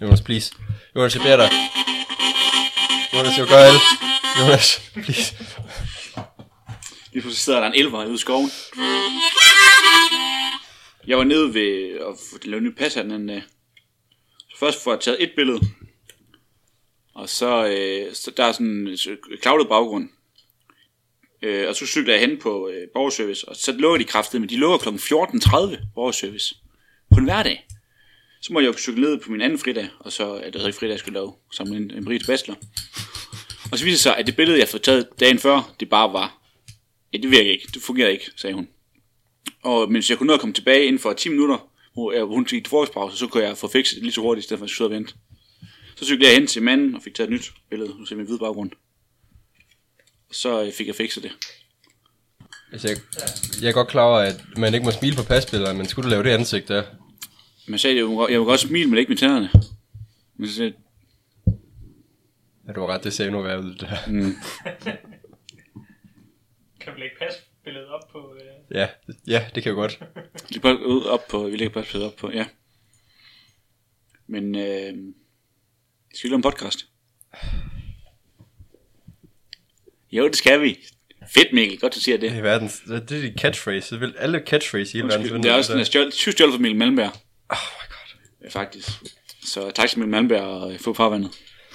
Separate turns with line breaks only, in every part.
Jonas, please. Jonas, jeg beder dig. Jonas, jeg gør alt. Jonas, please.
Lige pludselig sidder der en elver ude i skoven. Jeg var nede ved at lave nyt pas her den anden dag. Så først får jeg taget et billede. Og så, øh, så der er sådan en cloudet baggrund. Øh, og så cykler jeg hen på øh, borgerservice, og så lukker de kraftigt, men de lukker kl. 14.30 borgerservice på en hverdag. Så må jeg jo cykle ned på min anden fridag, og så er det ikke fridag, jeg skal lave sammen med en, en britisk bachelor. Og så viser det sig, at det billede, jeg får taget dagen før, det bare var, ja, det virker ikke, det fungerer ikke, sagde hun. Og mens jeg kunne nå at komme tilbage inden for 10 minutter, hvor jeg- hun gik til frokostpause, så kunne jeg få fikset det lige så hurtigt, i stedet for at sidde og vente. Så cyklede jeg hen til manden og fik taget et nyt billede, nu ser min hvide baggrund. Så øh, fik jeg fikset det.
Altså, jeg, jeg er godt klar over, at man ikke må smile på pasbilleder, men skulle du lave det ansigt der?
Man sagde, jeg må, jeg må godt smile, men ikke med tænderne. Men så sagde, jeg,
Ja, du har ret, det ser endnu værre ud det der.
mm,
Kan vi lægge pasbilledet op på... Øh...
Ja, ja, det kan jeg godt.
de bare ud op på, vi lægger bare pladset op på, ja. Men, øh, skal vi lave en podcast? Jo, det skal vi. Fedt, Mikkel. Godt, du siger det.
Det er verdens, det er dit catchphrase. Det vil alle catchphrase i hele verden.
Undskyld, det er også en stjål, syv stjålet fra Mikkel Malmberg.
Oh my god.
Ja, faktisk. Så tak til Mikkel Malmberg og øh, få farvandet.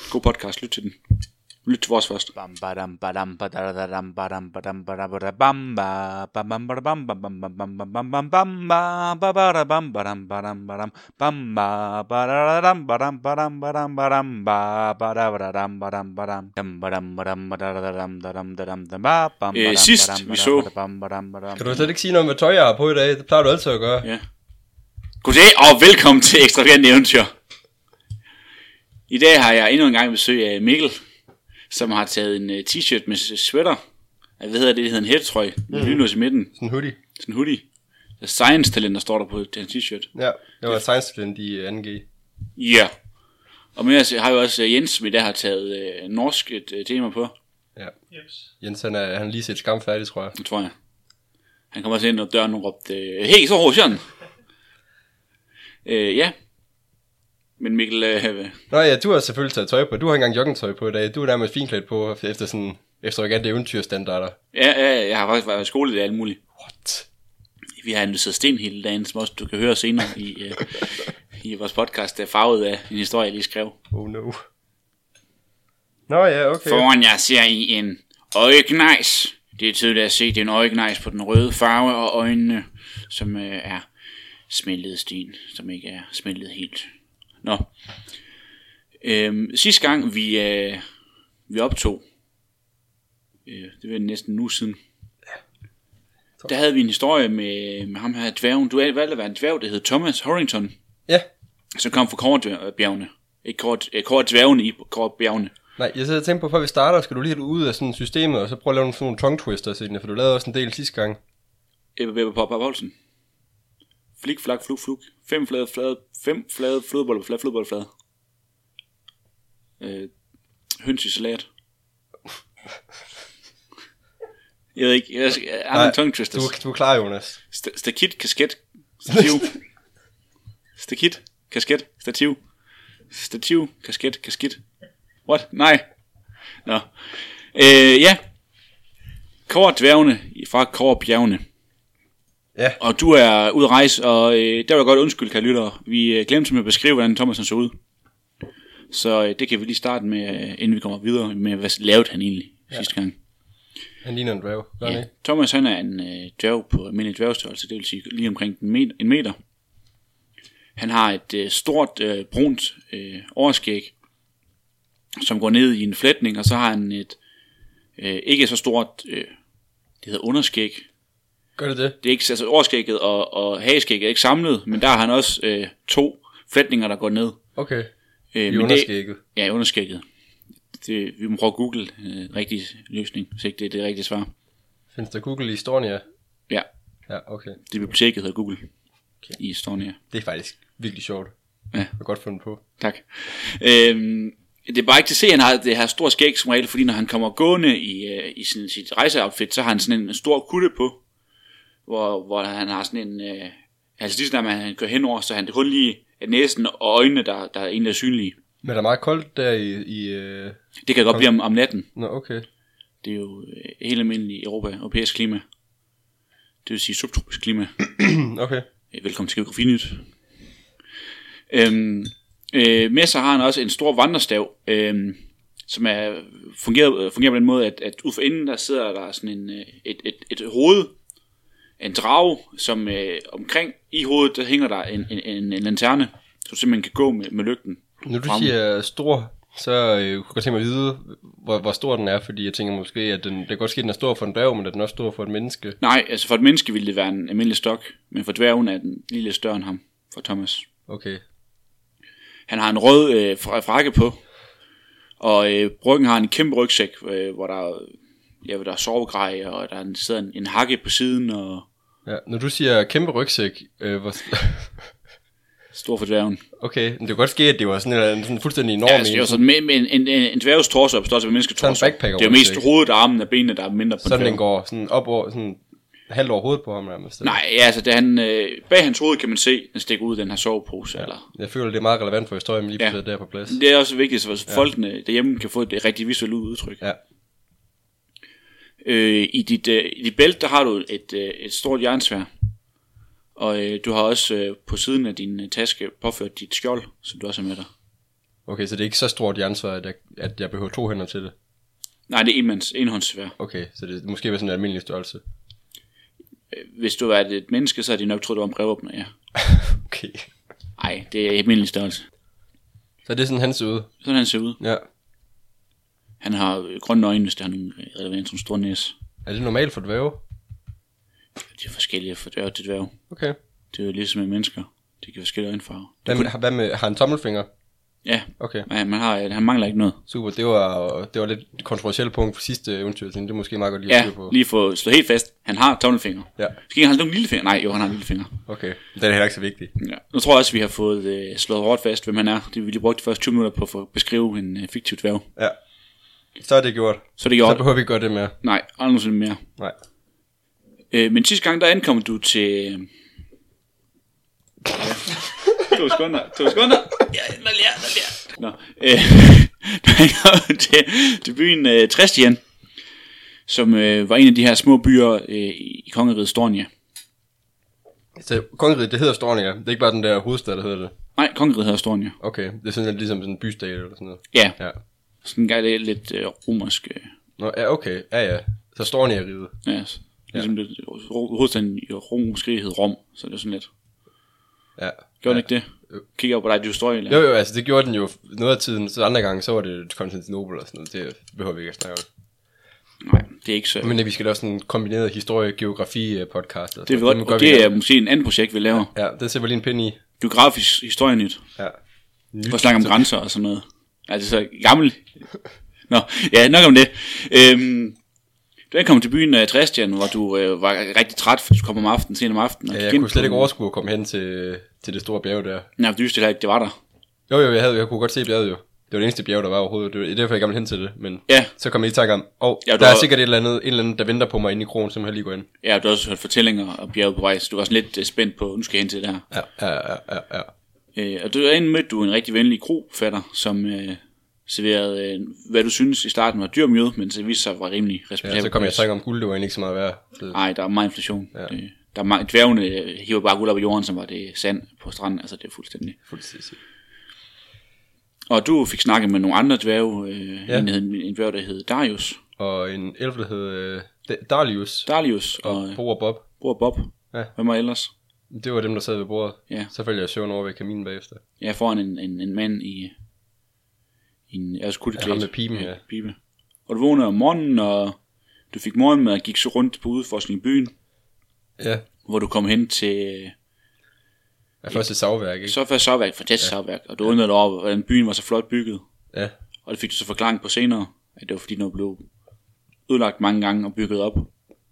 God podcast, lyt til den. Lyt til vores først.
Bam badam badam badadadam badam badam badam badam bam ba bam bam badam bam bam bam bam bam bam bam bam ba ba bada bam badam badam badam bam ba badadadam badam badam badam badam ba bada badadam badam badam dam badam badam badadadam dadam dadam dam ba bam
Øh,
badam
sidst
badam
vi
badam
så-
badam badam badam
Kan du slet ikke sige noget om, hvad tøj jeg har på i dag? Det plejer du altid at gøre.
Ja. Goddag og velkommen til Ekstravagant Eventyr. I dag har jeg endnu en gang besøg af Mikkel, som har taget en øh, t-shirt med s- sweater. Ej, Hvad hedder det? Det hedder en hættetrøj. Mm. Lynlås i midten.
Sådan en hoodie.
Sådan en hoodie. Der er science talenter står der på den t-shirt.
Ja, jeg var science i 2G.
Ja. Yeah. Og med os har jo også øh, Jens, som i dag har taget øh, norsk et øh, tema på.
Jeps.
Jens, han er, han er lige set skam færdig, tror jeg.
Det tror jeg. Han kommer også ind ad døren og råbte, øh, hey, så Rosjan! Øh, ja. Men Mikkel, øh,
Nå ja, du har selvfølgelig taget tøj på. Du har ikke engang joggingtøj på i dag. Du er nærmest finklædt på efter sådan ekstravagante eventyrstandarder.
ja, ja, jeg har faktisk været i skole i alt muligt.
What?
Vi har analyseret sten hele dagen, som også du kan høre senere i, øh, i vores podcast, der er farvet af en historie, jeg lige skrev.
Oh no. Nå ja, okay.
Foran jer ser I en øjegnejs. Det er tydeligt at se, det er en øjegnejs på den røde farve og øjnene, som øh, er smeltet sten, som ikke er smeltet helt. Nå. Øhm, sidste gang vi, øh, vi optog, øh, det var næsten nu siden, der havde vi en historie med, med ham her dværgen. Du valgte at være en dværg, der hed Thomas Horrington,
Ja.
som kom fra Kårebjergene. Ikke Kårebjergene, i Kårebjergene.
Nej, jeg sidder og tænker på, før vi starter, skal du lige have det ud af sådan systemet, og så prøve at lave nogle, sådan nogle tongue twisters egentlig, for du lavede også en del sidste gang.
Ebbe Bebbe Pop Poulsen. Flik, flak, fluk, fluk. Fem flade, flade, fem flade, flødebolle, flade, flødebolle, flade. Øh, høns i salat. Jeg ved ikke, jeg, jeg, jeg har en tongue
du,
twisters.
er- du er klar, Jonas.
St- stakit, kasket, stativ. stakit, kasket, stativ. Stativ, kasket, kasket. What? Nej. Nå. Øh, ja. Kåre dværgene fra Kåre bjergene.
Ja.
Og du er ude at rejse, og øh, der var godt undskyld, kan lyttere. Vi øh, glemte simpelthen at beskrive, hvordan Thomas han så ud. Så øh, det kan vi lige starte med, øh, inden vi kommer videre med, hvad lavede han egentlig ja. sidste gang.
Han ligner en drav, gør han
Ja.
ikke?
Thomas han er en øh, dværg på almindelig dværgstørrelse, det vil sige lige omkring en meter. En meter. Han har et øh, stort øh, brunt øh, overskæg, som går ned i en flætning, og så har han et øh, ikke så stort, øh, det hedder underskæg.
Gør det det?
Det er ikke, altså overskægget og, og hageskægget er ikke samlet, men der har han også øh, to flætninger, der går ned.
Okay.
Øh,
I
men det,
underskægget.
Ja, underskægget. Det, vi må prøve at google øh, rigtig løsning, hvis ikke det er det rigtige svar.
Findes der Google i Estonia?
Ja.
Ja, okay.
Det er biblioteket hedder Google okay. i Estonia.
Det er faktisk virkelig sjovt.
Ja.
Jeg har godt fundet på.
Tak. Øhm, det er bare ikke til at se, at han har det her store skæg som regel, fordi når han kommer gående i, øh, i sin, sit rejseoutfit, så har han sådan en stor kutte på, hvor, hvor han har sådan en... Øh, altså lige sådan, at han kører henover, så han kun lige at næsen og øjnene, der, der er egentlig er synlige.
Men der er meget koldt der i... i øh...
Det kan godt blive om, om natten.
Nå, okay.
Det er jo øh, helt almindeligt Europa, europæisk klima. Det vil sige subtropisk klima.
okay.
Øh, Velkommen til Geografinyt. Øhm, øh, med sig har han også en stor vandrestav, øhm, som er, fungerer, øh, fungerer på den måde, at, at ud for enden der sidder der sådan en, øh, et, et, et hoved af en drage, som øh, omkring i hovedet, der hænger der en, en, en, en lanterne, som simpelthen kan gå med, med lygten.
Nu du
frem.
siger stor, så øh, kunne jeg godt tænke mig at vide, hvor, hvor stor den er, fordi jeg tænker måske, at den, det kan godt ske, at den er stor for en dværg, men at den er også stor for et menneske.
Nej, altså for et menneske ville det være en almindelig stok, men for dværgen er den lille større end ham, for Thomas.
Okay.
Han har en rød øh, fra- frakke på, og øh, bryggen har en kæmpe rygsæk, øh, hvor der, er- ja, hvor der er sovegrej, og der er en, sidder en, en hakke på siden, og
Ja, når du siger kæmpe rygsæk, øh, hvor...
stor for dværgen.
okay, men det kan godt ske, at det var sådan en, en sådan fuldstændig enorm
Ja, altså, det er jo
en.
sådan, med, med en, en, en, en dværgs torso er på størrelse med menneskets
Sådan en
torso. Det
backpacker
er jo mest
rygsæk.
hovedet og armen og benene, der er mindre på
Sådan
dværgen.
den går sådan op over, sådan halvt over hovedet på ham nærmest.
Nej, ja, altså det er han, øh, bag hans hoved kan man se, den stikker ud, den her sovepose. Ja. Eller.
Jeg føler, det er meget relevant for historien, lige pludselig ja. der på plads.
Det er også vigtigt, så ja. folkene derhjemme kan få et rigtig visuelt udtryk.
Ja.
Øh, i, dit, øh, I dit bælte, der har du et, øh, et stort jernsvær. Og øh, du har også øh, på siden af din øh, taske påført dit skjold, som du også har med dig.
Okay, så det er ikke så stort et ansvar, at jeg, at jeg behøver to hænder til det.
Nej, det er enmands, enhåndssvær.
Okay, så det er måske var sådan en almindelig størrelse.
Øh, Hvis du var et menneske, så havde de nok troet, du var en brevåbner, ja.
Okay.
Nej, det er almindelig størrelse.
Så det er sådan hans ude.
Sådan han ser ud.
Ja.
Han har øh, grønne øjne, hvis der har nogen øh, relevans, som stor næse.
Er det normalt for dvæve?
De er forskellige fra dværg til dværg.
Okay.
Det er jo ligesom med mennesker. De kan forskellige øjenfarver.
Hvad med, hvad med, har han tommelfinger?
Ja,
Okay,
man, man har, øh, han mangler ikke noget.
super. Det var, det var lidt et kontroversielt punkt for sidste eventyr, så det er måske meget godt lige at
Ja,
styre på.
lige for at slå helt fast. Han har tommelfinger.
Ja.
Skal ikke han have nogen lillefinger? Nej, jo, han har en lillefinger.
Okay, det er heller ikke så vigtigt.
Ja. Nu tror jeg også, at vi har fået øh, slået hårdt fast, hvem han er. Det vi lige brugte de første 20 minutter på at få- beskrive en øh, fiktiv dværg.
Ja. Så er det gjort.
Så er det
Så
gjort.
behøver vi ikke gøre det mere.
Nej, aldrig nogensinde mere.
Nej.
Øh, men sidste gang, der ankom du til... øh, Ja. to sekunder, to sekunder. Ja, der lærer, der lærer. Nå, øh, der ankom til, til byen øh, Trestian, som øh, var en af de her små byer øh, i kongeriget Stornia.
Så kongeriget, det hedder Stornia. Det er ikke bare den der hovedstad, der hedder det.
Nej, kongeriget hedder Stornia.
Okay, det er sådan lidt ligesom sådan en bystat eller sådan noget.
Ja,
Ja.
sådan en gang lidt, lidt øh, romersk. Øh,
Nå, ja, okay. Ja, ja. Så Stornia riget.
Ja, s- ligesom ja. det, ro- hovedstaden i Rom måske hed Rom, så det er sådan lidt.
Ja.
Gjorde ja. den ikke det? Kigger jeg på dig, du står i eller?
Jo, jo, altså det gjorde den jo noget af tiden, så andre gange, så var det Konstantinopel og sådan noget, det behøver vi ikke at snakke om.
Nej, det er ikke så.
Men øh, vi skal lave sådan en kombineret historie-geografi-podcast.
det er, vi godt, og det er måske en anden projekt, vi laver.
Ja, det sætter vi lige en pind i.
Geografisk historienyt.
Ja.
Hvor snakker om grænser og sådan noget. Altså så gammel. Nå, ja, nok om det. Øhm, du ankom til byen af Tristian, hvor du øh, var rigtig træt, fordi du kom om aftenen, sent om aftenen. Og
Ja,
gik
jeg
ind
kunne slet
på-
ikke overskue at komme hen til, til det store bjerg der.
Nej, for du vidste heller ikke, det var der.
Jo, jo, jeg, havde, jeg kunne godt se bjerget jo. Det var det eneste bjerg, der var overhovedet. Det var det er derfor, jeg gerne ville hen til det. Men
Ja.
så kom jeg i tanke om, åh, oh,
Ja,
ja,
du
der er
har-
sikkert et eller, andet, et eller andet, der venter på mig inde i krogen, som jeg lige går ind.
Ja, og du har også hørt fortællinger og bjerge på vej, så du var sådan lidt øh, spændt på, nu skal jeg hen til det her.
Ja, ja, ja, ja, ja.
Øh, og der inden mødte du en rigtig venlig krofatter, som øh, serverede, øh, hvad du synes i starten var dyr mjød, men det viste sig var rimelig respektabelt.
ja så kom jeg i tanke om guld, det var egentlig ikke så meget værd. Så,
Nej, der er meget inflation. Ja. Det, der er meget, dværgene øh, hiver bare guld op af jorden, som var det sand på stranden. Altså, det er fuldstændig.
fuldstændig.
Og du fik snakket med nogle andre dværge. Øh, ja.
Ja.
en, hed, en dværg, der hed Darius.
Og en elf, der hed øh, Da- Darius
Darius og
og
øh,
Bo og Bob.
bror Bob.
Ja.
Hvem var ellers?
Det var dem, der sad ved bordet.
Ja.
Så faldt jeg i søvn over ved kaminen bagefter.
Ja, foran en, en, en mand i, i en jeg skulle
Ja, ham med piben, ja.
Pibe. Og du vågnede om morgenen, og du fik morgenmad og gik så rundt på udforskning i byen.
Ja,
hvor du kom hen til
Ja, først et savværk, ikke?
så først savværk, fantastisk ja. savværk, og du undrede dig over, hvordan byen var så flot bygget,
Ja,
og det fik du så forklaring på senere, at det var fordi, den blev ødelagt mange gange og bygget op,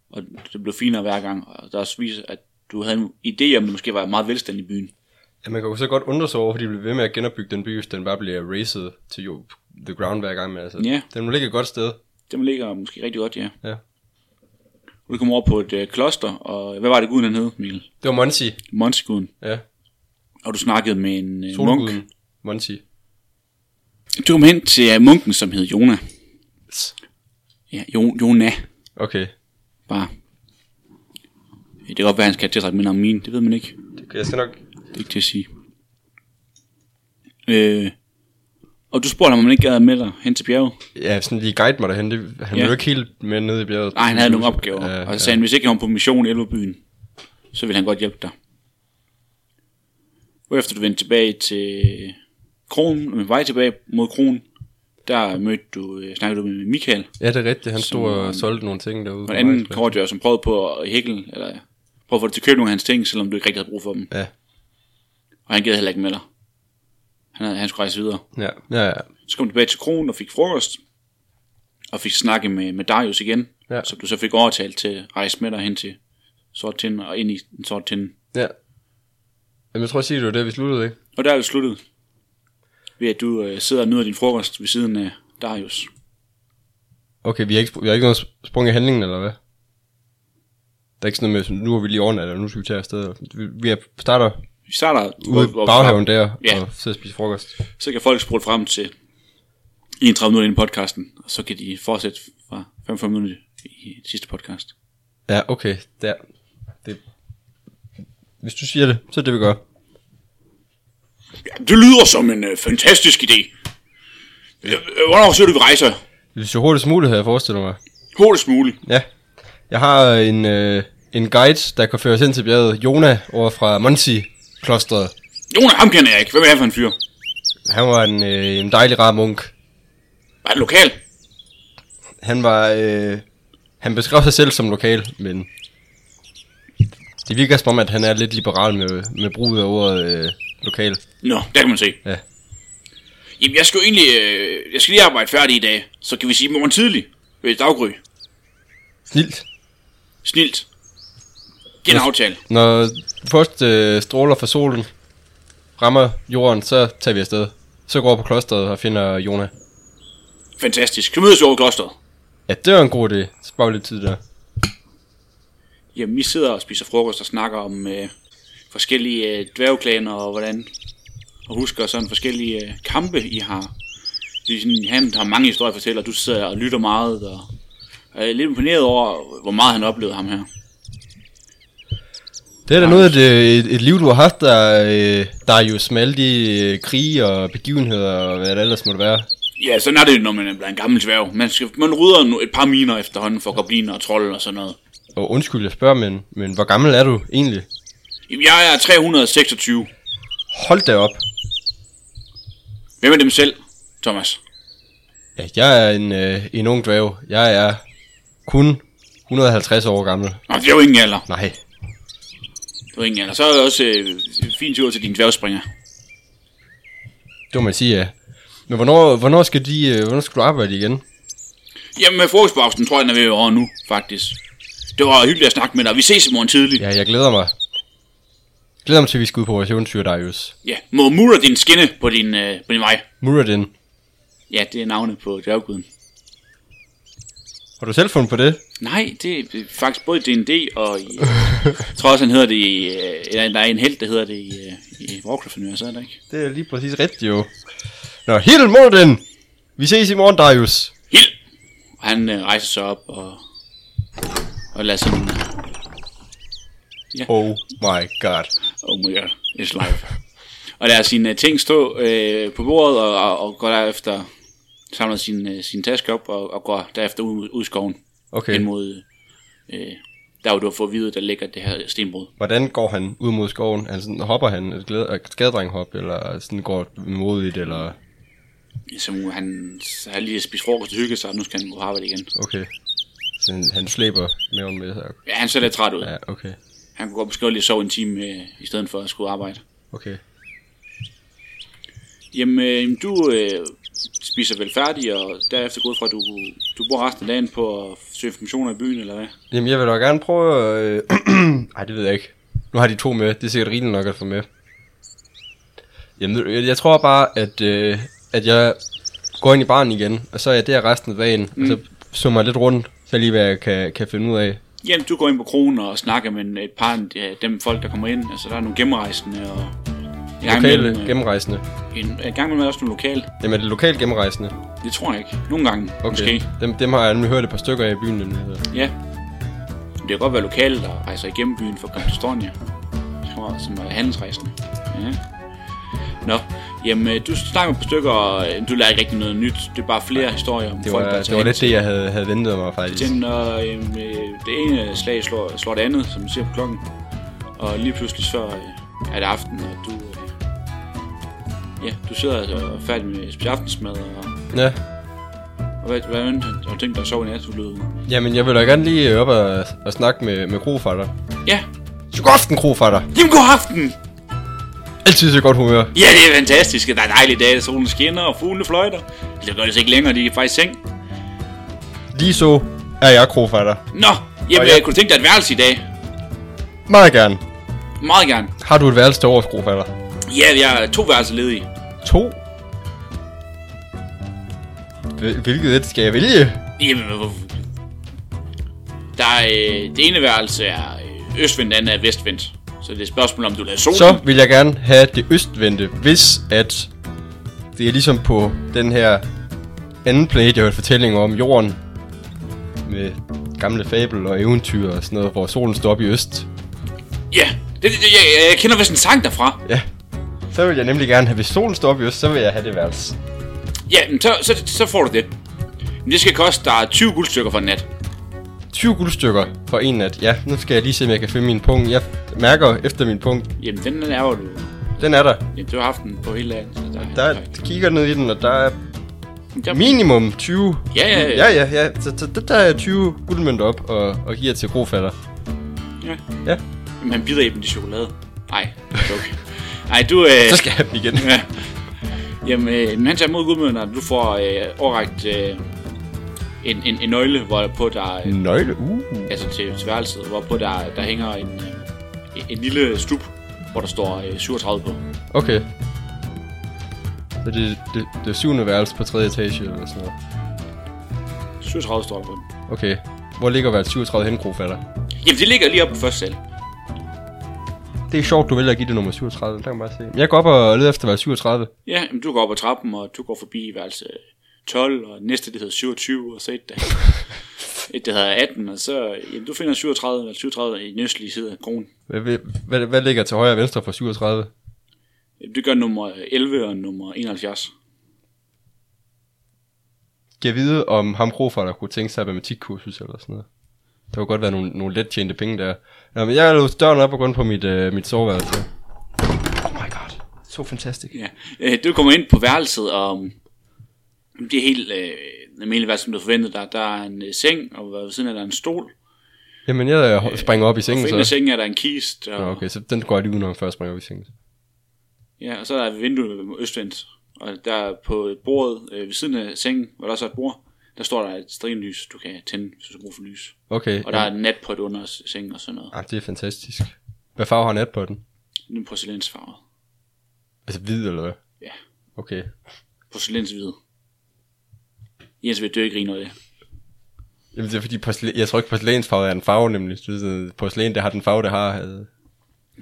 og det blev finere hver gang, og der også viser, at du havde en idé om, at det måske var meget velstand i byen.
Ja, man kan jo så godt undre sig over, fordi de bliver ved med at genopbygge den by, hvis den bare bliver raced til jo, the ground hver gang. Men altså,
Ja.
Den må ligge et godt sted.
Det ligger måske rigtig godt, ja.
Ja.
Og du kom over på et øh, kloster, og hvad var det guden han hed, Mikkel?
Det var Monsi.
Monsiguden.
Ja.
Og du snakkede med en øh, munk.
Solguden. Monty.
Du kom hen til øh, munken, som hed Jona. Ja, jo, Jona.
Okay,
Bare. Det kan godt være, han skal have tilrettet med navn min. Det ved man ikke.
det, jeg skal nok...
Det er ikke til at sige. Øh, og du spurgte ham, om han ikke gad med dig hen til bjerget.
Ja, sådan lige guide mig derhen. Det, han
Ja.
ja. var jo ikke helt med nede i bjerget.
Nej, han havde nogle opgaver.
Mm. Ja,
og så sagde han, hvis ikke jeg var på mission i Elverbyen, så ville han godt hjælpe dig. Hvorefter du vendte tilbage til kronen, med vej tilbage mod kronen, der mødte du, øh, snakkede du med Michael,
ja, det er rigtigt. Han stod
Som-
og solgte nogle ting derude.
og
på
en anden
markedspladsen.
kordjør, som prøvede på at hækle, eller prøvede at få dig til at købe nogle af hans ting, selvom du ikke rigtig havde brug for dem.
Ja,
Og han gad heller ikke med dig. Han, havde, han skulle rejse videre.
ja, ja, ja.
Så kom du tilbage til kronen og fik frokost, og fik snakket med, med Darius igen,
Ja.
som du så fik overtalt til at rejse med dig hen til sort tind og ind i den sort tind.
ja. Jamen, jeg tror, at sige, det var det, vi sluttede, ikke?
Og der er vi sluttet ved, at du øh, sidder og nyder din frokost ved siden af Darius.
Okay, vi har ikke, sp- vi har ikke noget sp- sprung i handlingen, eller hvad? Der er ikke sådan noget med, nu har vi lige overnattet, og nu skal vi tage afsted. og- Vi, vi er- starter
Vi starter
ude i
hvor- hvor vi
baghaven der,
Ja.
og sidder og spiser frokost.
starter. Så kan folk spole frem til 31 minutter ind i podcasten, og så kan de fortsætte fra 45 minutter i sidste podcast.
Ja, okay, der. Det. Hvis du siger det, så er det, vi gør.
Ja, det lyder som en øh, fantastisk idé. Øh, øh, Hvornår så du, vi rejser?
Det er så hurtigt som muligt, havde jeg forestillet mig.
Hurtigst muligt.
Ja. Jeg har en, øh, en guide, der kan føre os ind til bjerget. Jona over fra Monsi klostret.
Jonas, ham kender jeg ikke. Hvem er det for en fyr?
Han var en, øh, en dejlig rar munk.
Var det lokal?
Han var... Øh, han beskrev sig selv som lokal, men... Det virker som om, at han er lidt liberal med, med bruget af ordet øh, lokal.
Nå, der kan man se.
Ja.
Jamen, jeg skal jo egentlig... Øh, jeg skal lige arbejde færdig i dag. Så kan vi sige i morgen tidlig ved daggry.
Snilt.
Snilt. Det er en aftale.
Når først øh, stråler fra solen rammer jorden, så tager vi afsted. Så går jeg på klosteret og finder Jona.
Fantastisk. Så mødes vi over i klosteret.
Ja, det var en god idé. Spar vi lidt tid der.
Jamen, vi sidder og spiser frokost og snakker om øh, forskellige øh, dværgklaner og hvordan... Og husker sådan forskellige øh, kampe, I har. Det er sådan, han har mange historier at fortælle, og du sidder og lytter meget. Og, og jeg er lidt imponeret over, hvor meget han oplevede ham her.
Det er da noget af det, et, et liv, du har haft, der, øh, der er jo med alle de øh, krige og begivenheder og hvad det ellers måtte være.
Ja, sådan er det jo, når man er blevet en gammel dværg. Man, skal, man rydder nu et par miner efterhånden for gobliner og trolde og sådan noget.
Og undskyld, jeg spørger, men, men hvor gammel er du egentlig?
Jamen, Jeg er 326.
Hold da op.
Hvem er dem selv, Thomas?
Ja, jeg er en, øh, en ung dværg. Jeg er kun 150 år gammel.
Nå, det er jo ingen alder.
Nej.
Det er jo ingen alder. Så er det også øh, fin tur til din dværgspringer.
Det må man sige, ja. Men hvornår, hvornår, skal, de, øh, hvornår skal du arbejde igen?
Jamen, med frokostpausen tror jeg, den er ved at være over nu, faktisk. Det var hyggeligt at snakke med dig. Vi ses i morgen tidlig. Ja,
Ja, jeg glæder mig. Glæder mig til, at vi skal ud på vores eventyr, Darius.
ja. må mure din skinne på din, øh, på din vej.
Muradin,
Ja, det er navnet på dværgguden.
har du selv fundet på det?
Nej, det er faktisk både i D&D og i... jeg tror også, han hedder det i... Øh, eller der er en held, der hedder det i, øh, i Warcraft, nu, så er der ikke.
Det er lige præcis rigtigt, jo. Nå, helt Muradin! Vi ses i morgen, Darius.
Hild! Og han øh, rejser sig op og, og lader øh, sådan...
Oh my god.
Oh my god, it's live. og lader sine øh, ting stå øh, på bordet og, og, og går derefter... Samler sin, øh, sin taske op og, og går derefter ud, ud i skoven.
Okay.
Hen mod... Øh, der hvor du har fået at vide, der ligger det her stenbrud.
Hvordan går han ud mod skoven? Altså, sådan, hopper han et glæde- et skadedrenghop, eller sådan går modigt, eller...
Som han så har lige spist frokost og hygget sig, og nu skal han gå på arbejde igen.
Okay. Så han, han slæber maven med sig.
Ja, han ser lidt træt ud.
Ja, okay.
Han kunne godt måske godt lige sove en time, øh, i stedet for at skulle arbejde.
Okay.
Jamen, øh, du øh, spiser vel færdig, og derefter går ud fra, at du, du bruger resten af dagen på at søge informationer i byen, eller hvad?
Jamen, jeg vil da gerne prøve at... Øh... Ej, det ved jeg ikke. Nu har de to med. Det er sikkert rigeligt nok at få med. Jamen, ved du, jeg jeg tror bare, at, øh, at jeg går ind i baren igen, og så er jeg der resten af dagen, mm. og så summer jeg lidt rundt, så lige hvad jeg kan, kan finde ud af.
Jamen, du går ind på kronen og snakker med en- et par af de- dem folk, der kommer ind. Altså, der er nogle gennemrejsende og En gang
Lokale
imellem, øh,
gennemrejsende.
en, en gang imellem er der også nogle lokale.
Jamen er det lokale gennemrejsende?
Det tror jeg ikke. Nogle gange, okay. måske.
Dem, dem har jeg nemlig hørt et par stykker af i byen. øh, Nemlig.
Ja. Men Det kan godt være lokale, der rejser igennem byen for at komme til Stornia. Som- Som er handelsrejsende. Ja. Nå, jamen øh, du snakker på stykker, og øh, du lærer ikke rigtig noget nyt. Det er bare flere historier om
Det
folk,
var,
der
det var lidt det, jeg havde, havde ventet mig faktisk.
Tænd, og øhm, øh, det ene slag slår, slår det andet, som man ser på klokken. Og lige pludselig så øh, er det aften, og du... Øh, ja, du sidder altså færdig med spise aftensmad, og,
Ja.
og hvad, hvad end har du tænkt dig at sove i nat, du lød?
Jamen, jeg vil da gerne lige øh, op og, og snakke med, med krofatter.
Ja,
Så god aften, krofatter!
jamen god aften!
Altid så godt humør.
Ja, det er fantastisk. Der er en dejlig dag, solen skinner, og fuglene fløjter. Altså, Det gør det så ikke længere, de er faktisk i seng.
Lige så er jeg krofatter.
Nå, jamen,
Og
jeg...
jeg-
kunne du tænke dig et værelse i dag?
Meget gerne.
Meget gerne.
Har du et værelse til overs, krofatter?
Ja, vi har to værelser ledige.
To? Hvil- Hvilket et skal jeg vælge?
Jamen, hvorfor? Der er, øh, det ene værelse er øh, østvendt, det andet er vestvendt. Så det er et spørgsmål, om du lader solen.
Så vil jeg gerne have det østvendte, hvis at det er ligesom på den her anden planet, jeg hørte fortællinger om jorden med gamle fabel og eventyr og sådan noget, hvor solen står op i øst.
Ja, det, det, det, jeg, jeg kender vist en sang derfra.
Ja. Så vil jeg nemlig gerne have, hvis solen står op i øst, så vil jeg have det værelse.
Ja, men så, så, så får du det. Men det skal koste dig 20 guldstykker for en nat.
20 guldstykker for en nat. Ja, nu skal jeg lige se, om jeg kan finde min punkt. Jeg mærker efter min punkt.
Jamen, den er jo du.
Den er der.
Jamen, du har haft den på hele dagen. Så der,
Der er, kigger ned i den, og der er
der,
minimum 20.
Ja, ja, ja.
ja. ja, ja. Så, så det der er 20 guldmønter op og, og giver til grofatter.
Ja.
Ja.
Jamen, han bider i dem i chokolade. Nej, okay. Nej, du... Øh,
Så skal jeg have dem igen.
Ja. Jamen, øh, men han tager imod gudmøderne, og du får øh, overrækt øh, en, en, en nøgle, hvor der på der, øh,
Nøgle, uh.
altså til, til værelset, hvor på der, der hænger en, øh, en lille stup, hvor der står øh, 37 på.
Okay. Så det, det, det er syvende værelse på tredje etage eller sådan noget.
37 står der på den.
Okay. Hvor ligger værelse 37 hen, grofatter?
Jamen, det ligger lige oppe på første sal.
Det er sjovt, du vælger at give det nummer 37. Der kan man bare se. Jeg går op og leder efter værelse 37.
Ja, jamen, du går op ad trappen, og du går forbi værelse 12, og næste det hedder 27, og så et, der, et der hedder 18, og så, jamen, du finder 37, eller 37 i den østlige side af kronen.
Hvad, hvad, hvad, hvad ligger til højre og venstre for 37?
Det gør nummer 11 og nummer 71.
Kan jeg vide, om ham Krofer, der kunne tænke sig et matematikkursus eller sådan noget? Der kunne godt være nogle, nogle let tjente penge der. Nå, men jeg låste døren op og gå ind på mit, øh, mit soveværelse. Oh my god. Så fantastisk.
Ja. Øh, du kommer ind på værelset, og øhm, det er helt øh, almindeligt, hvad som du forventede dig. Der er en øh, seng, og ved siden af der er en stol.
Jamen, jeg øh, springer op i
Og for enden
sengen
af
så.
sengen er der en kist, og,
Nå, okay, så den går jeg lige udenom, før jeg springer op i sengen.
ja, og så er der vinduet østvendt. Og der på bordet øh, ved siden af sengen, hvor der så er et bord, der står der et strinlys, du kan tænde, hvis du har brug for lys.
Okay.
Og der er et natpot under s- sengen og sådan noget.
ah, det er fantastisk. Hvad farve har nat på den?
Den er porcelænsfarvet.
Altså hvid eller hvad?
Ja.
Okay.
Porcelænshvid. Jens vil dø ikke grine af det.
Jamen, det er fordi, porcelæn, jeg tror ikke, porcelænsfarve er en farve, nemlig. Du ved, sådan, Porcelæn, det har den farve, det har. øh.
Man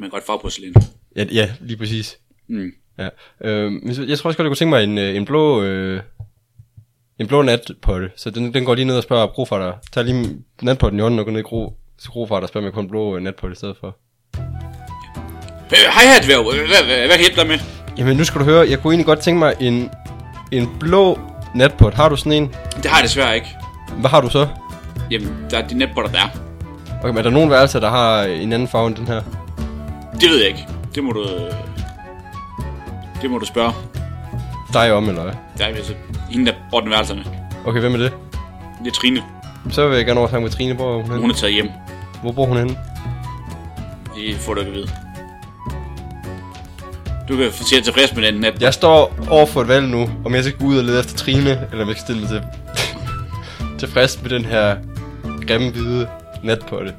kan godt farve porcelæn.
Ja, ja lige præcis.
Mm.
Ja. Øh, men så- jeg tror også godt, jeg kunne tænke mig en, øh, en blå... Øh, en blå natpotte. Så den, den går lige ned og spørger grofatter. Tag lige natpotten i hånden og gå ned i gro, så grofatter og spørger, om jeg kunne have en blå øh, natpotte i stedet for.
Øh, Hej her, dværg. Øh, Hvad, hvad, hvad hjælper dig med?
Jamen, nu skal du høre. Jeg kunne egentlig godt tænke mig en, en blå natpot. Har du sådan en?
Det har jeg desværre ikke.
Hvad har du så?
Jamen, der er de netbotter, der er.
Okay, men er der nogen værelser, der har øh, en anden farve end den her?
Det ved jeg ikke. Det må du... øh, Det må du spørge.
Dig om, eller hvad?
Der er altså hende, der bor den værelserne.
Okay, hvem er det?
Det er Trine.
Så vil jeg gerne over og snakke med Trine. Hvor er hun henne?
Hun er taget hjem.
Hvor bor hun henne?
Det får du ikke at vide. Du kan se dig tilfreds med den nat.
Jeg står over for et valg nu, om jeg skal gå ud og lede efter Trine, eller om jeg skal stille mig til tilfreds med den her grimme hvide natpotte.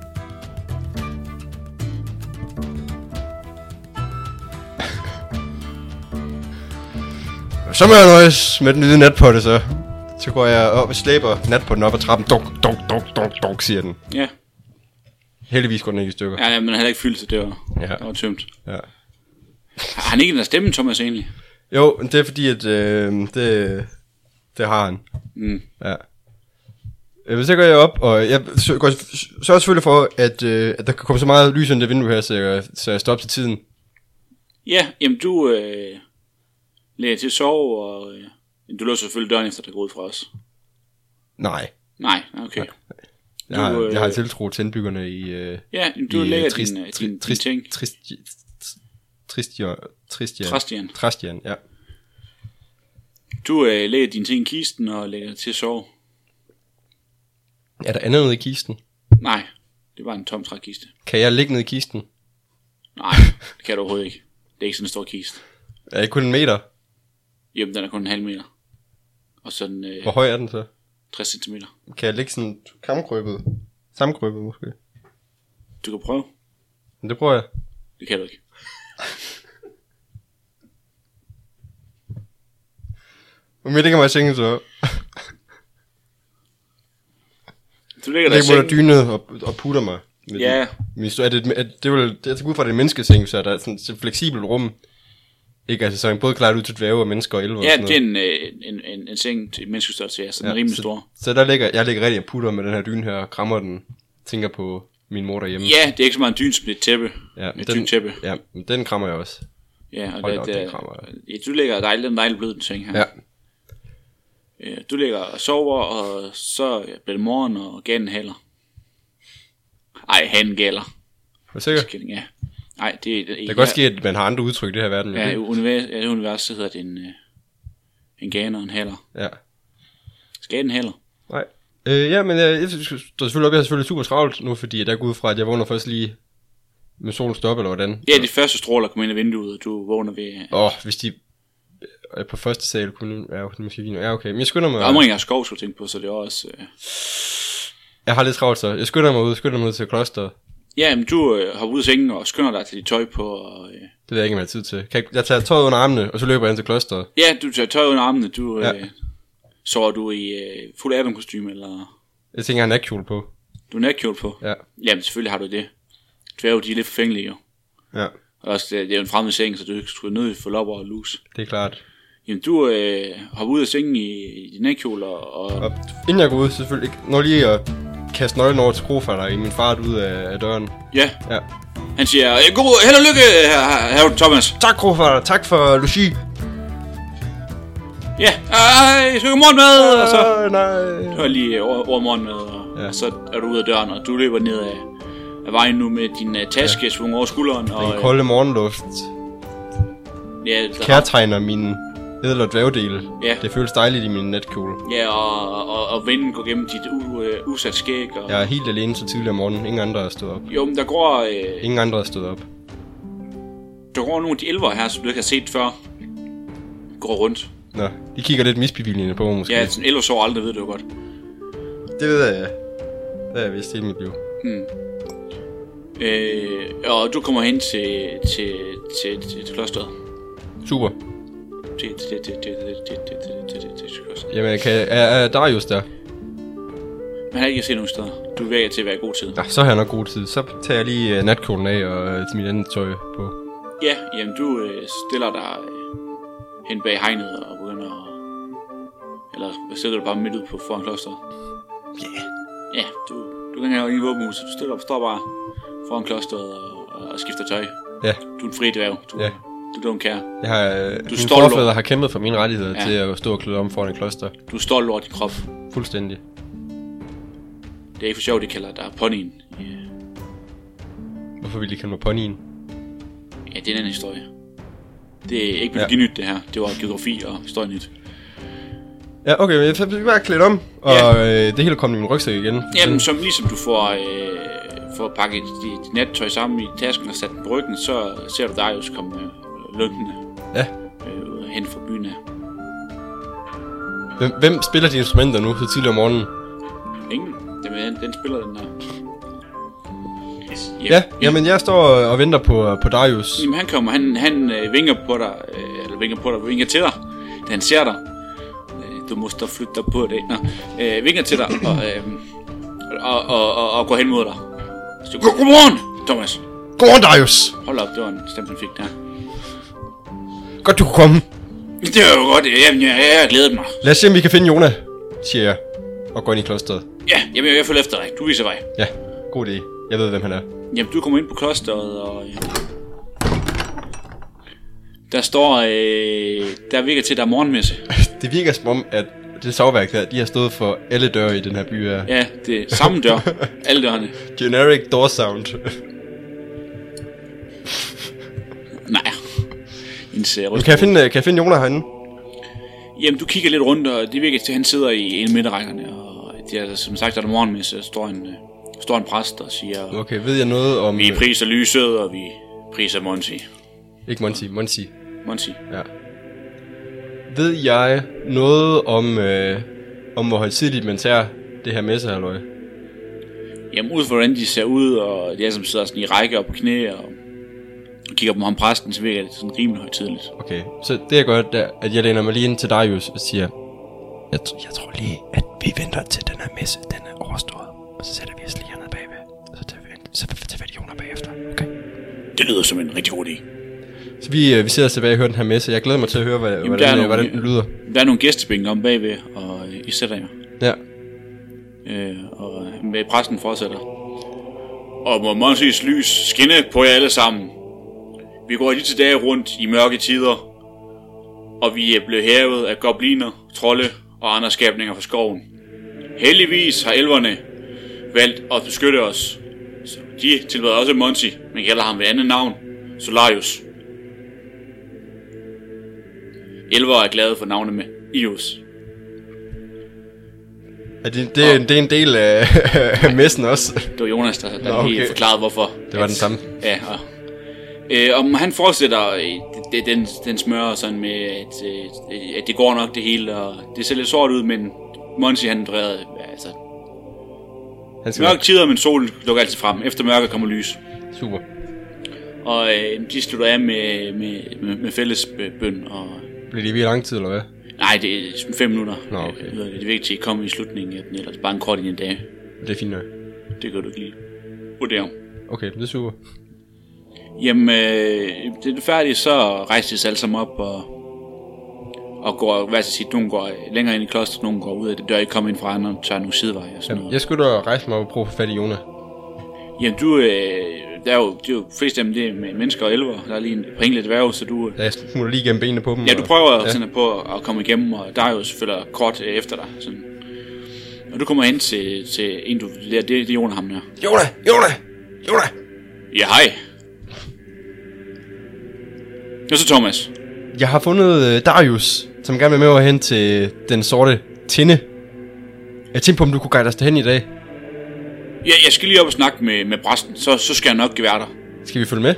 Så må jeg nøjes med den hvide natpotte, så. Så går jeg op og slæber natpotten op ad trappen. Dunk, dunk, dunk, dunk, dunk, siger den.
Ja.
Heldigvis går den ikke i stykker.
Ja, ja, men han har ikke fyldt, så det var,
Ja.
det var tømt.
Ja.
Har han ikke en af stemmen, Thomas, egentlig?
Jo, men det er fordi, at øh, det, det har han.
Mm.
Ja. Øh, Men så går jeg op, og jeg sø- går, sørger selvfølgelig for, at, øh, at der kan komme så meget lys ind i det vindue her, så jeg, så jeg stopper til tiden.
Ja, jamen du øh, lagde til at sove, og øh, du lå selvfølgelig døren efter, der går ud fra os.
Nej,
Nej, okay.
jeg, du, har,
øh,
jeg har tiltro til indbyggerne i... Øh,
Ja, jamen, du
i, øh,
lægger
trist-
din, øh,
tri-
din, din
trist-
ting.
trist- Tristian. Tristian.
Trastian.
Trastian, ja.
Du øh, lægger dine ting i kisten og lægger til at sove.
Er der andet nede i kisten?
Nej, det var en tom trækiste.
Kan jeg ligge nede i kisten?
Nej, det kan du overhovedet ikke. Det er ikke sådan en stor kiste.
Er jeg kun en meter?
Jamen, den er kun en halv meter. Og sådan øh,
Hvor høj er den så?
60 cm.
Kan jeg ligge sådan kamkrøbet? Samkrøbet måske?
Du kan prøve.
Men det prøver jeg.
Det kan du ikke.
Men det kan man tænke så.
Du lægger dig i
Jeg ligger under
sengen.
dynet og, og putter mig. Med
Ja,
Men så er det, et- er, det er vel, det er ud fra, at det er en menneskeseng, så er der er sådan et fleksibelt rum. Ikke altså, så er den både klart ud til dvæve og mennesker og elver og
ja
sådan
det er en, øh, en, en, en seng til menneskestørrelse, ja, så den er rimelig
så,
stor.
Så der ligger, jeg ligger rigtig og putter med den her dyne her og krammer den. Tænker på min mor derhjemme.
Ja, det er ikke så meget en dyn som et tæppe.
Mm. ja
et tykt tæppe.
Ja, men den krammer jeg også.
Ja, og
Hold
det,
da op,
det,
det krammer.
ja, du ligger dejligt, den dejlige blød ting her.
Ja.
Øh, Du ligger og sover, og så bliver det morgen, og ganen hælder. Ej, han gælder.
Er du sikker?
Så kidding, ja. Nej, det er ikke.
Det kan godt ske, at man har andre udtryk i det her verden.
Ja, i univers, ja, i universet hedder det en, øh, en ganer og en hælder.
ja.
Skal den hælder?
Nej. Øh, ja, men jeg, jeg står selvfølgelig op. Jeg har selvfølgelig super travlt nu, fordi jeg går ud fra, at jeg vågner først lige med solen stopper, eller hvordan.
Ja, de første stråler kommer ind ad vinduet, og du vågner ved øh,
Åh, oh, hvis de er på første sal, kunne ja, okay, det er måske lige nu. Ja, okay. Men jeg skynder mig.
omringer af skov, skulle jeg tænke på, så det er også... Øh...
Jeg har lidt travlt, så jeg skynder mig ud, skynder mig ud til klosteret.
Ja, men du øh, hopper ud af sengen og skynder dig til dit tøj på, og... Øh...
Det ved jeg ikke, om jeg har tid til. Kan jeg, jeg tager tøjet under armene, og så løber jeg ind til klosteret.
Ja, du tager tøj under armene, du... Øh...
Ja.
Sover du i øh, fuld Adam-kostyme, eller...
Jeg tænker, jeg har natkjole på.
Du er natkjole på?
Ja,
Jamen, selvfølgelig har du det. Dværge, de er lidt forfængelige jo.
ja,
Og også, øh, det det er jo en fremmed seng, så du skulle nødt få lopper og lus.
det er klart.
Jamen, du øh, hopper ud af sengen i, i din natkjole, og, og
Og inden jeg går ud, selvfølgelig ikke. Når lige at kaste nøglen over til krofatter i min fart ud af, af døren.
ja,
Ja.
han siger, "Øh, god, held og lykke, her, her, Thomas.
Tak, krofatter. Tak for logi.
Ja, ej, skal morgen med, og så
Øh, nej.
hører lige over, over morgen med, og, ja.
Ja.
og, så er du ude af døren, og du løber ned af, af vejen nu med din uh, taske ja. svunget over skulderen, og
Den kolde morgenluft
øh, ja, der,
kærtegner min edel- og dvævedel.
Ja.
Det føles dejligt i min natkjole.
ja og, og, og vinden går gennem dit u, øh, usat skæg, og
Jeg er helt alene så tidlig om morgenen. Ingen andre er stået op.
jo, men der går, øh,
Ingen andre er stået op.
der går nogle af de elver her, som du ikke har set før, går rundt.
Nå, de kigger lidt misbevilligende på mig måske.
Ja, sådan elver sover aldrig, ved du jo godt.
Det ved jeg. Det har jeg vist hele mit liv.
Øh, og du kommer hen til, til, til, til, til klosteret.
Super.
Til, til, til, til, til, til, til, til, til, til, til, til klosteret.
Jamen, kan, er, er Darius der?
Men han har ikke set nogen steder. Du virker til at være i god tid.
Nå, så har jeg nok god tid. Så tager jeg lige uh, natkjolen af og uh, mit andet tøj på.
Ja, jamen du øh, stiller dig øh, hen bag hegnet og begynder at... Eller stiller du bare midt ud på foran klosteret? Ja. Ja, du, du kan ikke engang i våbenhus. Du stiller op, står bare foran klosteret og, og, og skifter tøj.
Ja,
Du er en fri dværg. Du,
Ja.
du don't care.
jeg har, uh, du mine
står
forfædre har kæmpet for mine rettigheder
Ja.
ja. til at stå og klæde om foran et kloster.
Du er stolt over din krop.
Fuldstændig.
Det er ikke for sjovt, de kalder dig ponyen. Ja.
Hvorfor ville de kalde mig ponyen?
Ja, det er en anden historie. Det er ikke
Ja.
mytologi nyt, det her. Det var geografi og historie nyt.
Ja, okay, men jeg bliver bare klædt om, og
Ja.
øh, det hele kommer i min rygsæk igen.
Jamen, som, ligesom du får, øh, får pakket dit, dit nattøj sammen i tasken og sat den på ryggen, så ser du dig jo komme øh, lundende
Ja.
øh, hen fra byen af.
Hvem, hvem spiller de instrumenter nu så tidligt om morgenen?
Ingen. Jamen, den, den spiller den der. Yes.
Ja, jamen jeg står og- og venter på, øh, på Darius.
Jamen, han kommer, han, han øh, vinker på dig, øh, eller vinker på dig, vinker til dig, da han ser dig. Øh, du måske flytte dig på det. Nå, øh, vinker til dig, og, øh, og, og, og, og går hen mod dig. Så, godmorgen, Thomas.
Godmorgen, Darius!
Hold op, det var en stemme, han fik der.
Godt, du kunne komme.
Det var jo godt. Jamen, jeg, jeg, jeg glæder mig.
Lad os se, om vi kan finde Jona, siger jeg. Og går ind i klosteret.
Ja, jamen, jeg følger efter dig. Du viser vej.
Ja, god idé. Jeg ved, hvem han er.
Jamen, du kommer ind på klosteret, og... øh, Der står... Øh, der virker til, at der er morgenmesse.
Det virker som om, at det savværk der, de har stået for alle døre i den her by her.
Ja, det er samme dør. Alle dørene.
Generic door sound.
Nej. En serie
kan, jeg finde, øh, kan jeg finde Jona herinde?
Jamen, du kigger lidt rundt, og det virker til, at han sidder i en af midterrækkerne. Og det er, altså, som sagt, der er der morgenmesse, og står en, øh, står en præst og siger...
Okay, ved jeg noget om...
Vi priser lyset, og vi priser Monsi.
øh, Ikke Monty, Monty.
Monsi.
Ja. Ved jeg noget om, øh, om hvor højtidligt man tager det her messe, halløj?
Jamen, ud fra hvordan de ser ud, og de alle som sidder sådan i række og på knæ, og kigger på ham præsten, så virker det sådan rimelig højtidligt.
Okay, så det jeg gør, det er, at jeg læner mig lige ind til Darius og siger, jeg, tr- jeg tror lige, at vi venter til den her messe, den er overstået. Og så sætter vi os lige hernede bagved. Så tager vi, så tager vi Jona bagefter. Okay.
Det lyder som en rigtig god idé.
Så vi, øh, vi sidder os tilbage og hører den her messe. Jeg glæder mig til at høre, hvad, Jamen,
der
hvordan, nogle...
er nogle-
hvordan den lyder.
Der er nogle gæstebænke om bagved, og øh, I sætter jer.
Ja.
Øh, og med præsten fortsætter. Og må Monsis lys skinne på jer alle sammen. Vi går i disse dage rundt i mørke tider, og vi er blevet hævet af gobliner, trolde og andre skabninger fra skoven. Heldigvis har elverne valgt at beskytte os. Så de tilbeder også Monsi, men kalder ham ved andet navn, Solarius. Elver er glade for navnet med Ius.
Er det, det, er, en- det er en del af, af messen også.
Det var Jonas, der, der
Nå,
okay.
okay.
lige forklarede, hvorfor.
Det var den samme.
Ja, og, øh, og han fortsætter, øh, det- det- den, den smører sådan med, at, øh, at det går nok det hele, og det ser lidt sort ud, men Monsi han drejede, altså,
Han skal
mørke tider, men solen lukker altid frem. Efter mørket kommer lys.
Super.
Og øh, de slutter af med, med, med, med fælles øh, bøn, og
Bliver det lige lang tid, eller hvad?
nej, det er fem minutter.
Nå, okay.
Øh, Det er vigtigt, at I kommer i slutningen af den, ellers bare en kort i en dag.
Det er fint nok.
Det kan du ikke lige vurdere.
Okay, det er super.
Jamen, øh, det er færdigt, så rejser de sig alle sammen op og, og går, hvad skal jeg sige, nogen går længere ind i klosteret, nogen går ud af det dør, ikke kommer ind fra andre, tager nogle sideveje og sådan
Jamen,
noget.
jeg skulle da rejse mig op og prøve at få fat i Jona.
Jamen, du, øh, der er jo, det er jo flest af dem, det er med mennesker og elver, der er lige en på enkelt dværg, så du... øh,
Ja, Jeg smutter lige gennem benene på dem.
Ja, du
og-
prøver ja. sådan på at komme igennem, og der er jo selvfølgelig kort øh, efter dig. Sådan. Og du kommer hen til, til en, du... Ja, det, det er Jon ham der.
Jona! Jona! Jona!
Ja, hej. Og så Thomas.
Jeg har fundet øh, Darius, som gerne vil med over hen til den sorte tinde. Jeg tænkte på, om du kunne guide os derhen i dag.
Ja, jeg skal lige op og snakke med, med præsten, så, så skal jeg nok være der.
Skal vi følge med?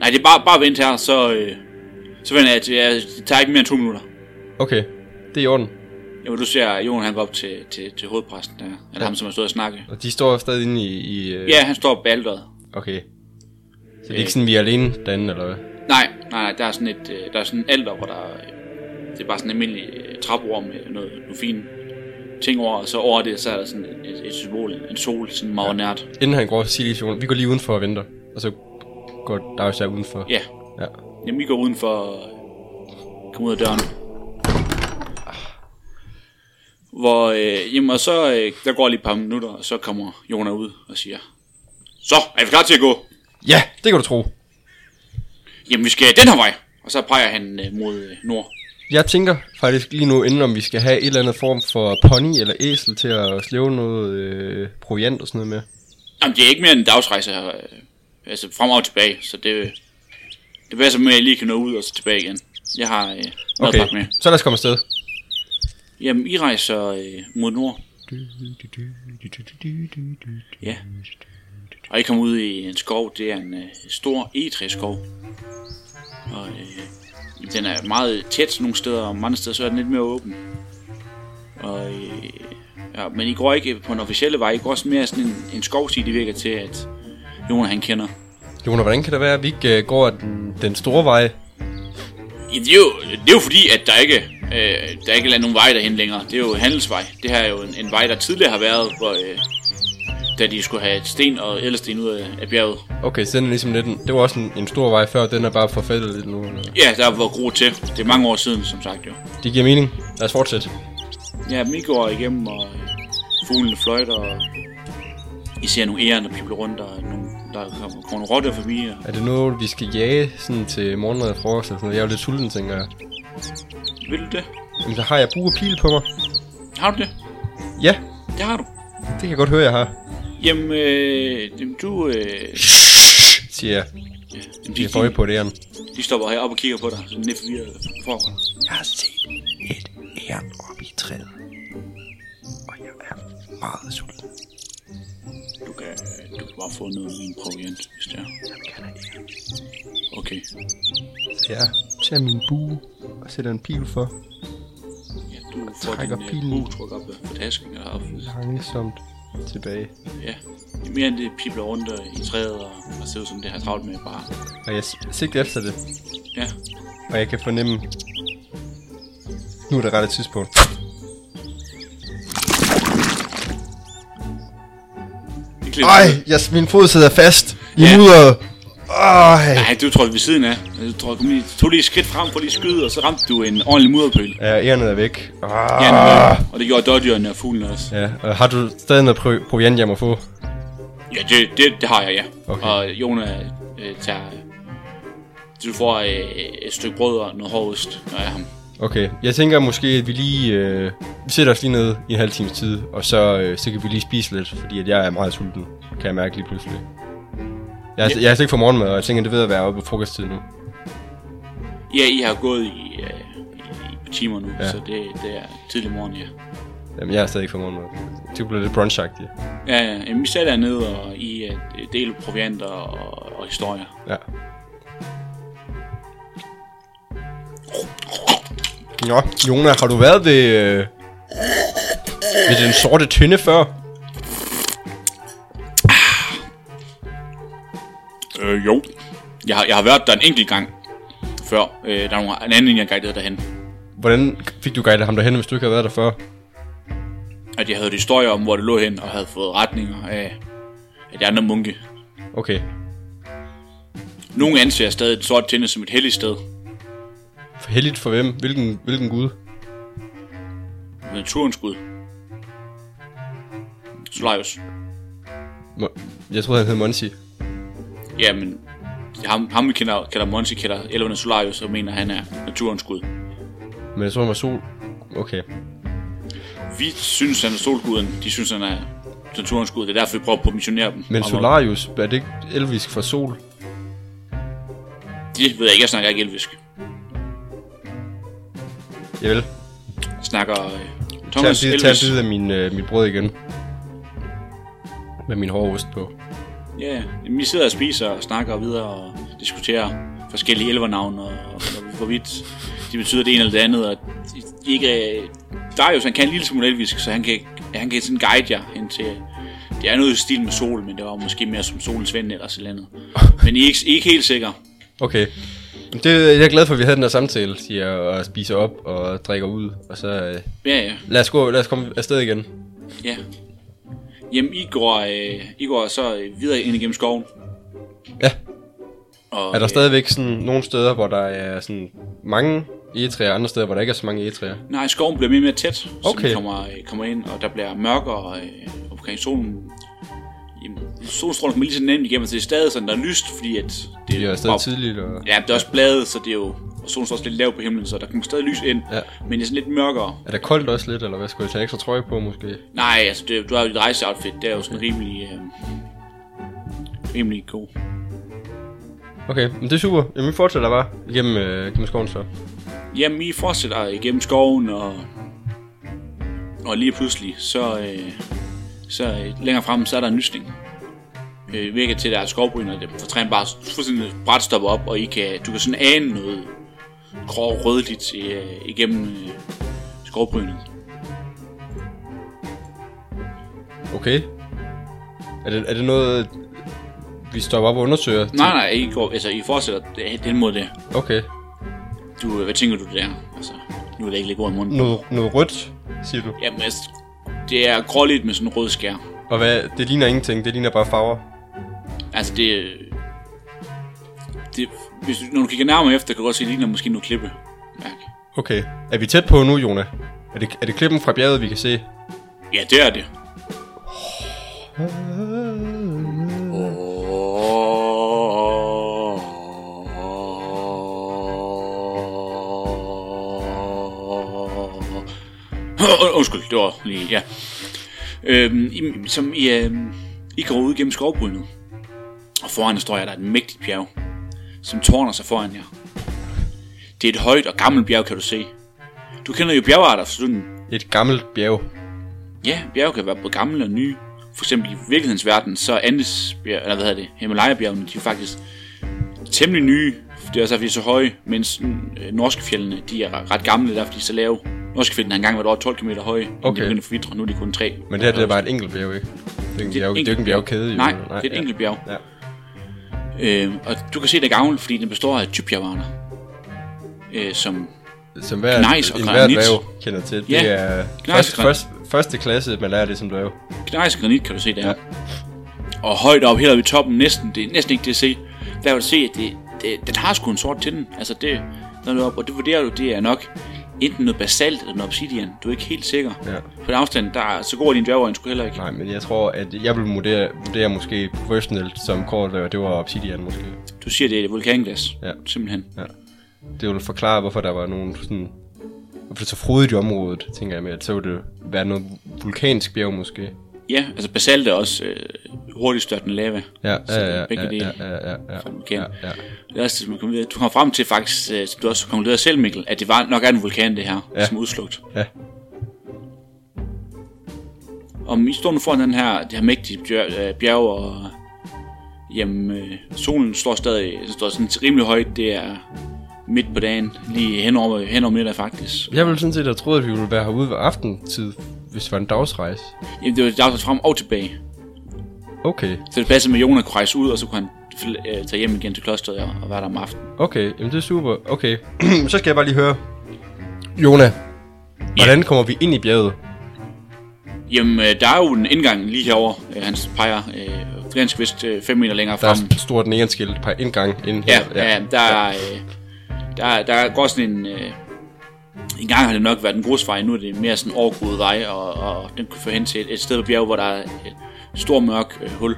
Nej, det er bare, bare vent her, så, øh, så venter jeg, til- jeg, det tager ikke mere end to minutter.
Okay, det er i orden.
Jamen, du ser, at Jon han går op til, til, til hovedpræsten der, eller ham, som har stået og snakke.
Og de står stadig inde i... i øh...
Ja, han står på alderet.
Okay. Så det er ikke sådan, vi er alene derinde, eller hvad?
Nej, nej, nej, der er sådan et, øh, der er sådan et alder, hvor der, øh, det er bare sådan en almindelig øh, trappeord med noget, nogle fine ting over, og så over det, så er der sådan et, et, et symbol, en sol, sådan meget nært.
Inden han går og siger lige til Jona, vi går lige udenfor og venter. Og så går Darius der udenfor.
Ja,
ja.
jamen vi går udenfor og kommer ud af døren. Hvor, øh, jamen og så, øh, der går lige et par minutter, og så kommer Jonas ud og siger, Så, er vi klar til at gå?
Ja, det kan du tro.
Jamen vi skal den her vej. Og så peger han øh, mod øh, nord.
Jeg tænker faktisk lige nu, inden om vi skal have et eller andet form for pony eller æsel til at slæve noget øh, proviant og sådan noget med.
Jamen det er ikke mere end en dagsrejse her, øh, altså frem og tilbage, så det, øh, det passer med, at jeg lige kan nå ud og så tilbage igen. Jeg har øh, noget okay. med.
Okay, så lad os komme afsted.
Jamen I rejser øh, mod nord. Ja. Og I kommer ud i en skov, det er en øh, stor egetræskov. Og øh, den er meget tæt nogle steder, og mange steder så er den lidt mere åben. Og, øh, ja, men I går ikke på en officielle vej, I går også mere sådan en, en skovsti, det virker til, at Jon han kender.
Jonas, hvordan kan det være, at vi ikke øh, går ad den, den store vej?
Ja, det, er jo, det er jo fordi, at der ikke, øh, der ikke er nogen vej derhen længere. Det er jo handelsvej. Det her er jo en, en vej, der tidligere har været, hvor, øh, da de skulle have et sten og ædelsten ud af, af bjerget.
Okay, så den er ligesom lidt en, det var også en, en stor vej før, den er bare forfaldet lidt nu. eller-
Ja, der var gro til. Det er mange år siden, som sagt jo.
Det giver mening. Lad os fortsætte.
Ja, min går igennem, og øh, fuglene fløjter, og I ser nogle æren, der pibler rundt, og nogle, der kommer, kommer nogle rotter forbi, og
Er det noget, vi skal jage sådan til morgenmad og frokost? Eller sådan noget? Jeg er jo lidt sulten, tænker jeg.
vil du det?
Jamen, så har jeg bue og pil på mig.
Har du det?
Ja,
Det har du.
det kan jeg godt høre, jeg har,
Jamen, øh, jamen, du... Øh,
siger jeg.
jamen,
Jeg
de,
får øje
de,
på det, Jan.
de, stopper heroppe og kigger på dig, sådan lidt forvirret forfra.
Jeg har set et æren oppe i træet. Og jeg er meget sulten.
Du kan, øh, du kan bare få noget af min proviant, hvis det er. Okay.
Så jeg tager min bue og sætter en pil for
Ja, du får
trækker
din
pilen.
pilen. Uh, truk op øh, på tasken og op.
langsomt tilbage.
Ja. Det er mere end det pibler rundt øh, i træet og, og ser ud som det har travlt med bare.
Og jeg s- sigter efter det,
Ja.
og jeg kan fornemme, nu er det rette tidspunkt.
Det klipper.
Ej, jeg, min fod sidder fast i
Ja.
mudderet. Ej.
Nej, du trådte ved siden af. Du trådte, kom lige, tog lige et skridt frem for lige at skyde, og så ramte du en ordentlig mudderpøl.
Ja, ærnet er væk. Ah.
Ja, ah. og det gjorde dodgerne og fuglen også.
Ja, og har du stadig noget pro- proviant, jeg må få?
Ja, det, det, det har jeg, ja.
Okay.
Okay. Og Jona øh, tager... Du får øh, et stykke brød og noget hård ost af ham.
Okay, jeg tænker måske, at vi lige... Øh, vi sætter os lige ned i en halv times tid, og så, øh, så kan vi lige spise lidt, fordi at jeg er meget sulten, kan jeg mærke lige pludselig. Jeg, ja. jeg har slet ikke fået morgenmad, og jeg tænker, at det er ved at være oppe på frokosttid nu.
Ja, I har gået i, øh, i, i timer nu,
Ja.
ja. så det, det er tidlig morgen, ja.
Jamen, jeg har stadig ikke fået morgenmad. Det bliver lidt brunchagtigt.
Ja, ja, jamen, vi sætter ned og I øh, deler provianter og, og historier.
Ja. Nå, Jona, har du været ved, øh, ved den sorte tynde før?
Øh, jo. Jeg har, jeg har været der en enkelt gang før. Øh, der er nogle, en anden, jeg guidede derhen.
Hvordan fik du guidet ham derhen, hvis du ikke havde været der før?
At jeg havde historier om, hvor det lå hen, og havde fået retninger af, af de andre munke.
Okay,
Nogle anser stadig et sort tænde som et helligt sted.
heldigt for hvem? Hvilken, hvilken gud?
Naturens gud. Solarius.
Mo- Jeg troede, han hed Monsi.
Jamen, ham, ham vi kender, kalder Monty, kalder elverne Solarius, og mener, han er naturens gud.
Men jeg troede, han var sol. Okay.
Vi synes, han er solguden. De synes, han er naturens gud. Det er derfor, vi prøver på at missionere dem.
Men
Om-
Solarius, er det ikke elvisk for sol?
Det ved jeg ikke. Jeg snakker ikke elvisk.
Javel.
Jeg snakker øh,
Tag en
Thomas
bid, tag en
Elvis.
bid af min, øh, mit brød igen. Med min hårde ost på.
Ja, yeah. vi sidder og spiser og snakker videre og diskuterer forskellige elvernavne og, og hvorvidt de betyder det ene eller det andet. Og de- ikke, øh, Darius, han kan en lille smule elvisk, så han kan, han kan sådan guide jer hen til... Det er noget i stil med sol, men det var måske mere som solens ven eller sådan noget. Men I er ikke, I er ikke helt sikre.
Okay. Jamen, Det, jeg er glad for, at vi havde den her samtale, siger jeg, og spiser op og drikker ud. Og så øh,
Ja, ja.
lad, os gå, lad os komme afsted igen.
Ja. Jamen, I går, øh, I går så øh, videre ind igennem skoven.
Ja.
Og,
Er der
øh,
stadigvæk sådan nogle steder, hvor der er sådan mange egetræer, og andre steder, hvor der ikke er så mange egetræer?
Nej, skoven bliver mere og mere tæt, så
Okay.
vi kommer, øh, kommer ind, og der bliver mørkere øh, omkring solen. Jamen, solstrålen kommer lige så nemt igennem, så det er stadig sådan, der er lyst, fordi at... Det
Det er
og-
stadig tidligt, og...
Ja, det er også bladet, så det er jo... Og solen står også lidt lav på himlen, så der kommer stadig lys ind,
Ja.
men det er sådan lidt mørkere.
Er der koldt også lidt, eller hvad? Skulle jeg tage en ekstra trøje på, måske?
Nej, altså, det, du har jo dit rejseoutfit, det er jo sådan rimelig... Øh, rimelig god.
Okay, men det er super. Jamen, vi fortsætter bare igennem, øh, igennem skoven så.
Jamen, I fortsætter igennem skoven, og, og lige pludselig, så, øh, så øh, længere frem, så er der en lysning. Øh, virker til, at der er skovbryn, og det for træen bare fuldstændig bræt stopper op, og I kan, du kan sådan ane noget grå rødligt øh, igennem øh, skovbrynet.
Okay. Er det, er det noget, vi stopper op og undersøger?
Nej, nej, I, går, altså, I fortsætter det- den måde der.
Okay.
Du, øh, hvad tænker du der? Altså, nu er
Mm.
det ikke lige god i munden.
Noget, noget rødt, siger du?
Jamen, altså, det er gråligt med sådan en rød skær.
Og hvad, det ligner ingenting, det ligner bare farver.
Altså det... øh, det hvis du, når du kigger nærmere efter, kan du godt se, at det ligner måske noget klippe. Mærke.
Okay, er vi tæt på nu, Jona? Er det, er det klippen fra bjerget, vi kan se?
Ja, det er det. Åh, Undskyld, det var lige, ja. Øhm, I- som I, øhm, I går ud gennem skovbrynet. Og foran jer står jeg, der er et mægtigt bjerg, som tårner sig foran jer. Det er et højt og gammelt bjerg, kan du se. Du kender jo bjergarter, så du
Et gammelt bjerg.
Ja, bjerge kan være både gamle og nye. For eksempel i virkelighedens verden, så er Andesbjerg, eller hvad hedder det, Himalaya-bjergene, de er faktisk temmelig nye. Det er så, fordi de er så høje, mens øh, norske fjellene, de er ret gamle, der er fordi de er så lave. Norske fjellene har engang været over 12 km høje, okay.
Okay.
de begyndte at forvitre, nu er de kun 3.
Men det her, det er bare et enkelt bjerg, ikke? Det er, en bjerg,
et
det er jo ikke en
enkelt
bjergkæde, jo.
Nej, det er et enkelt bjerg.
Ja.
Øh, og du kan se, det er gammelt, fordi den består af typjavarner. Øh, som
Som hver,
Gnejs og
en hver
granit.
dværg kender til.
Ja,
Det er
og
første,
granit.
første, første klasse, man lærer det som dværg.
Gnejs granit, kan du se der. Ja. Og højt op, helt oppe i toppen, næsten, det er næsten ikke det at se. Der kan du se, at det, det, den har sgu en sort til den. Altså det, når du er op, og det vurderer du, det er nok enten noget basalt eller noget obsidian. Du er ikke helt sikker.
Ja.
På den afstand, der er så god er din dværgøjen skulle heller ikke.
Nej, men jeg tror, at jeg vil vurdere, vurdere måske professionelt som kortdværg, det var obsidian måske.
Du siger, det er vulkanglas.
Ja.
Simpelthen.
Det vil forklare, hvorfor der var nogen sådan... Hvorfor det er så frodigt i området, tænker jeg med, at så ville det være noget vulkansk bjerg måske.
Ja, altså basalt er også øh, hurtigt størtende lava.
Ja, ja,
Så det er
ja,
begge
ja,
dele.
ja, ja, ja, ja,
fra en vulkan.
ja, ja.
Det er også, det, man kommer videre. Du kommer frem til faktisk, øh, som du også konkluderede selv, Mikkel, at det var nok er en vulkan, det her, ja.
Ja.
som er udslugt.
Ja.
Og I står nu foran den her, det her mægtige bjerg, øh, bjerg og jamen, øh, solen står stadig den står sådan rimelig højt. Det er midt på dagen, lige hen over, hen over middag faktisk.
Jeg ville sådan set have troet, at vi ville være herude ved aftentid, hvis det var en dagsrejse.
Jamen, det var dagsrejse frem og tilbage.
Okay,
Så det passede med, at Jonas kunne rejse ud, og så kunne han fl- øh, tage hjem igen til klosteret og, og være der om aftenen.
okay, jamen det er super. Okay, så skal jeg bare lige høre. Jona, hvordan kommer vi ind i bjerget?
Jamen, øh, der er jo en indgang lige herover. Øh, han peger øh, ganske vist 5 meter længere
Der er
frem.
et stort neonskilt på indgang ind
Ja,
her.
ja, der, er, øh, der, der går sådan en... Øh, en gang har det nok været en grusvej, nu er det mere sådan en overgroet vej, og, og den kunne føre hen til et, et sted på bjerget, hvor der er et stort mørk øh, hul.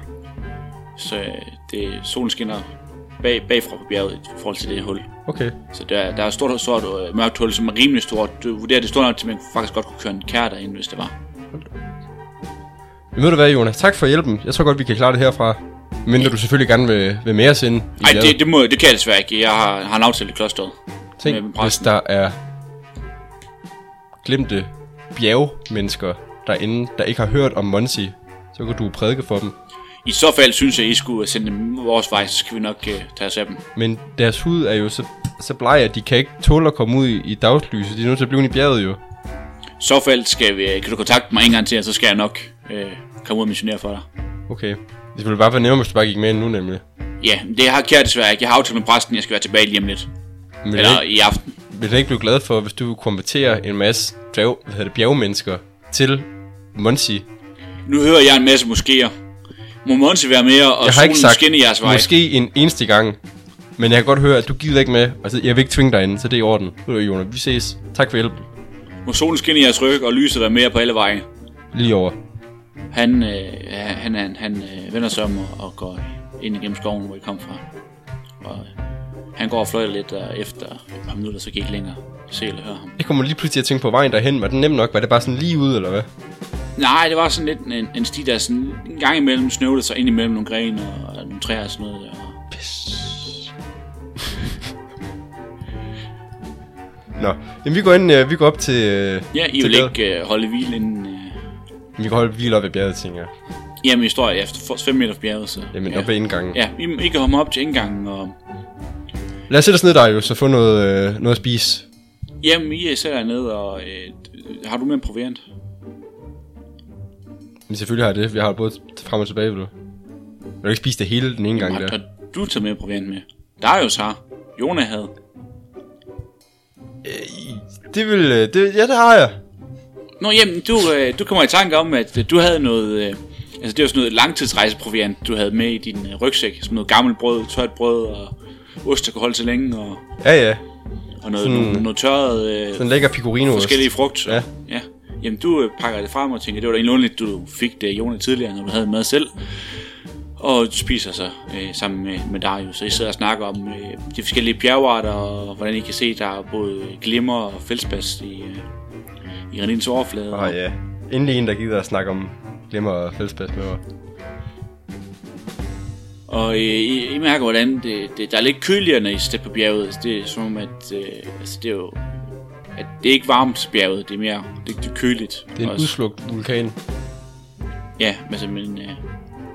Så øh, det, solen skinner bag, bagfra på bjerget i forhold til det hul.
Okay,
Så der, der er et stort, stort øh, mørkt hul, som er rimelig stort. Du vurderer, det er stort nok til, at man faktisk godt kunne køre en kær derind, hvis det var.
Men ved du hvad, Jonas? Tak for hjælpen. Jeg tror godt, vi kan klare det herfra. Men du selvfølgelig gerne vil, vil med os ind. i
Nej,
bjerget.
det, det, må, det kan jeg desværre ikke. Jeg har, har en aftale i klosteret.
Tænk,
med
hvis
præsten.
der er glemte bjergmennesker derinde, der ikke har hørt om Monsi, så kan du prædike for dem.
I så fald synes jeg, I skulle øh, sende dem vores vej, så skal vi nok øh, tage os af dem.
Men deres hud er jo så, så bleg, at de kan ikke tåle at komme ud i, i dagslyset. De er nødt til at blive inde i bjerget jo.
I så fald skal vi, øh, kan du kontakte mig en gang til, og så skal jeg nok øh, komme ud og missionere for dig.
Okay. Det ville bare være nemmere, hvis du bare gik med ind nu nemlig.
Ja, men det har Kjær desværre ikke. Jeg har aftalt med præsten, jeg skal være tilbage lige om lidt.
Men vil
Eller
jeg ikke,
i aften.
vil jeg ikke blive glad for, hvis du konverterer en masse dværg, hvad hedder det, bjergmennesker til Monsi?
Nu hører jeg en masse moskéer. Må Monse være med, og
jeg har
solen
ikke sagt
skinne jeres vej.
måske en eneste gang, men jeg kan godt høre, at du gider ikke med. Altså, jeg vil ikke tvinge dig ind, så det er i orden. Ved du, Jonas, vi ses. Tak for hjælpen.
Må solen skinne jeres ryg, og lyset være mere på alle veje.
Lige over.
Han, øh, ja, han, han, han øh, vender sig om og, og går ind igennem skoven, hvor I kom fra. Og øh, han går og fløjter lidt, og efter et par minutter, så kan I ikke længere se eller høre ham.
Jeg kommer lige pludselig til at tænke på vejen derhen. Var den nem nok? Var det bare sådan lige ud, eller hvad?
Nej, det var sådan lidt en, en sti, der sådan en gang imellem snøvlede sig ind imellem nogle grene og, og nogle træer og sådan noget. Og
Nå, jamen vi går ind, øh, vi går op til... Øh,
ja, I
til
vil
bjerget.
ikke øh, holde hvil inden... Øh,
Vi kan holde hvile op ved bjerget, tænker jeg.
jamen, I står efter 5 meter fra bjerget, så...
Jamen,
ja.
op ved indgangen.
Ja, I, I kan hoppe op til indgangen, og...
Lad os sætte os ned der jo, så få noget, øh, noget at spise.
Jamen, I øh, sætter jer ned, og... Øh, har du mere proviant?
Men selvfølgelig har jeg det. Vi har både frem og tilbage, vil du. Vil du ikke spise det hele den ene gang
Har,
der?
har du taget mere proviant med? Darius har. Jona havde.
Øh, Det vil... Øh, det, ja, det har jeg.
Nå, jamen, du, øh, du kommer i tanke om, at øh, du havde noget... Øh, Altså det var sådan noget langtidsrejseproviant, du havde med i din øh, rygsæk. Sådan noget gammelt brød, tørt brød og ost, der kunne holde til længe. Og,
Ja, ja.
og noget,
Sådan-
noget, noget tørret øh,
Sådan en lækker pecorino
forskellige frugt.
Ja.
ja. Jamen, du øh, pakker det frem og tænker, det var da egentlig underligt, du fik det af Jonas tidligere, når du havde mad selv. Og du spiser så øh, sammen med, med Darius, så I sidder og snakker om øh, de forskellige bjergarter, og hvordan I kan se, der er både glimmer og feldspas i, øh, i Renins overflade.
Åh, Ah, ja. Endelig en, der gider at snakke om glemmer og fællespas med mig.
Og øh, I, I mærker, hvordan det, det, der er lidt køligere, når I stepper på bjerget. Altså, Det er som om, at, øh, altså, det er jo, at det er ikke varmt bjerget, det er mere det, det er køligt.
Det er en udslugt vulkan.
Ja, altså, men øh,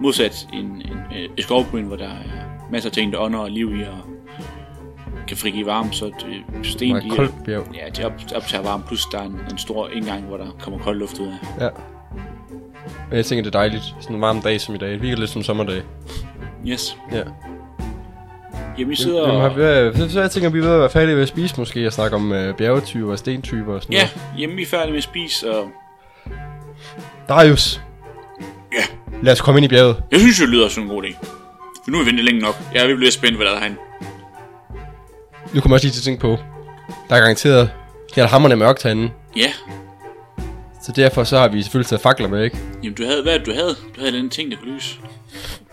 modsat en, en, øh, et skovbryn, hvor der er masser af ting, der ånder og liv i, og kan frigive varme, så et, øh, sten,
Meget
de,
koldt bjerg.
ja, de op, optager varme, plus der er en, en stor indgang, hvor der kommer kold luft ud af.
Ja. Men jeg tænker, det er dejligt. Sådan en varm dag som i dag. Det virker lidt som sommerdag.
Yes.
Ja.
Jamen, I sidder
Jamen, har
og...
vi, så, så jeg tænker, vi er ved at være færdige ved at spise måske, og snakke om øh, bjergetyper og stentyper og sådan
Ja,
noget.
hjemme I er færdige med at spise, og
Darius!
Ja.
Lad os komme ind i bjerget.
Jeg synes jo, det lyder som en god idé. For nu har vi ventet længe nok. Jeg er ved at blive spændt, hvad der er herinde.
Nu kommer jeg også lige til at tænke på, der er garanteret, det er hammerne mørkt herinde.
Ja,
Så derfor så har vi selvfølgelig taget fakler med, ikke?
jamen du havde, hvad er det, du havde? Du havde den ting, der kunne lyse.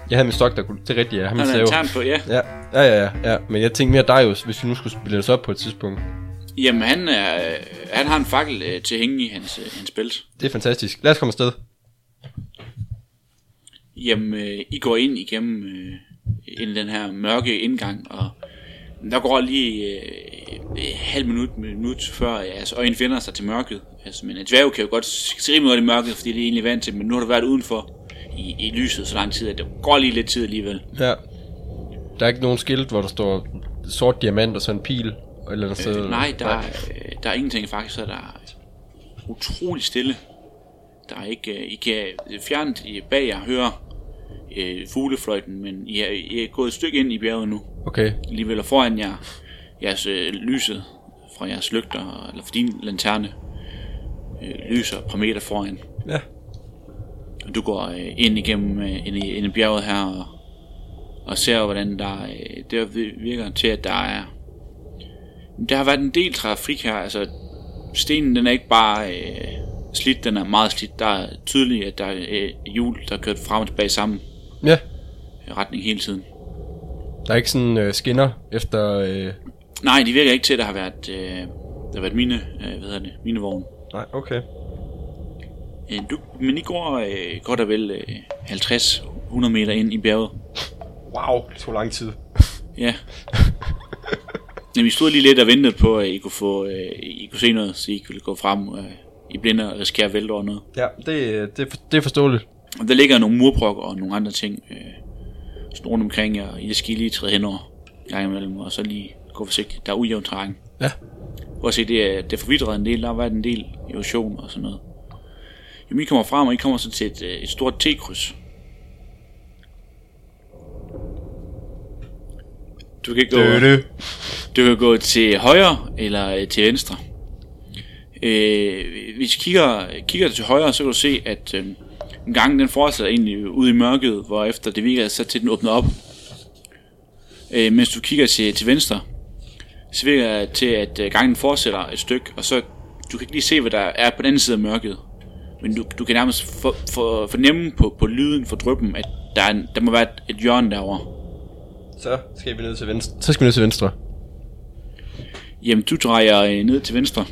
Jeg havde min stok, der kunne... Det er rigtigt, jeg har
Der
min
er en
stav.
lantern på, ja.
Ja, ja, ja, ja, ja. Men jeg tænkte mere Darius, hvis vi nu skulle spille os op på et tidspunkt.
Jamen han, er, øh, han har en fakkel øh, til at hænge i hans, øh, hans bælte.
Det er fantastisk. Lad os komme afsted.
Jamen, øh, I går ind igennem øh, ind i den her mørke indgang, og der går lige øh, øh, halv minut, minut før jeres øjne finder sig til mørket. Altså, men en dværg kan jo godt se rimelig godt i mørket, fordi det er egentlig vant til, men nu har du været udenfor i, i lyset så lang tid, at det går lige lidt tid alligevel.
Ja. Der er ikke nogen skilt, hvor der står sort diamant og så en pil. Eller noget sted.
Øh, nej, der, er, øh, der er ingenting faktisk, så der er utrolig stille. Der er ikke, øh, I kan fjernt i- bag jer høre øh, fuglefløjten, men I er, I er gået et stykke ind i bjerget nu.
Okay.
Alligevel og foran jer, jeres øh, lyset fra jeres lygter, eller fra din lanterne, øh, lyser et par meter foran.
Ja.
Og du går øh, ind igennem øh, ind, i, ind i bjerget her og, og ser, hvordan der øh, det virker til, at der er... Der har været en del trafik her, altså stenen den er ikke bare øh, slidt, den er meget slidt. Der er tydeligt, at der er øh, hjul, der er kørt frem og tilbage i samme øh,
Ja.
retning hele tiden.
Der er ikke sådan øh, skinner efter... Øh...
Nej, de virker ikke til, at der har været, øh, der har været mine, øh, hvad hedder det, mine vogne.
Nej, okay.
Øh, du, men I går øh, godt og vel øh, 50-100 meter ind i bjerget.
Wow, det tog lang tid.
Ja. Jamen, vi stod lige lidt og ventede på, at I kunne, få, øh, I kunne se noget, så I ikke ville gå frem øh, i blinde og risikere at vælte over noget.
Ja, det, øh, det, er for- det er forståeligt.
Og der ligger nogle murprokker og nogle andre ting øh, sådan rundt omkring jer, og I skal lige træde henover en gang imellem, og så lige gå forsigtigt. Der er ujævn terræn.
Ja.
Og se, det er, det er forvidret en del, der har været en del erosion og sådan noget. Jamen, I kommer frem, og I kommer så til et, øh, et stort T-kryds. Du kan gå... Du kan gå til højre eller øh, til venstre. Øh, hvis du kigger, kigger til højre, så kan du se, at øh, gangen den fortsætter egentlig ud i mørket, hvor efter det virker så til den åbner op. Øh, mens du kigger til, til venstre, så virker det til, at øh, gangen fortsætter et stykke, og så du kan ikke lige se, hvad der er på den anden side af mørket. Men du, du kan nærmest for, for, fornemme på, på lyden for drøbben, at der, er en, der må være et, et hjørne derovre.
Så skal vi ned til venstre. Så skal vi ned til venstre.
Jamen, du drejer øh, ned til venstre.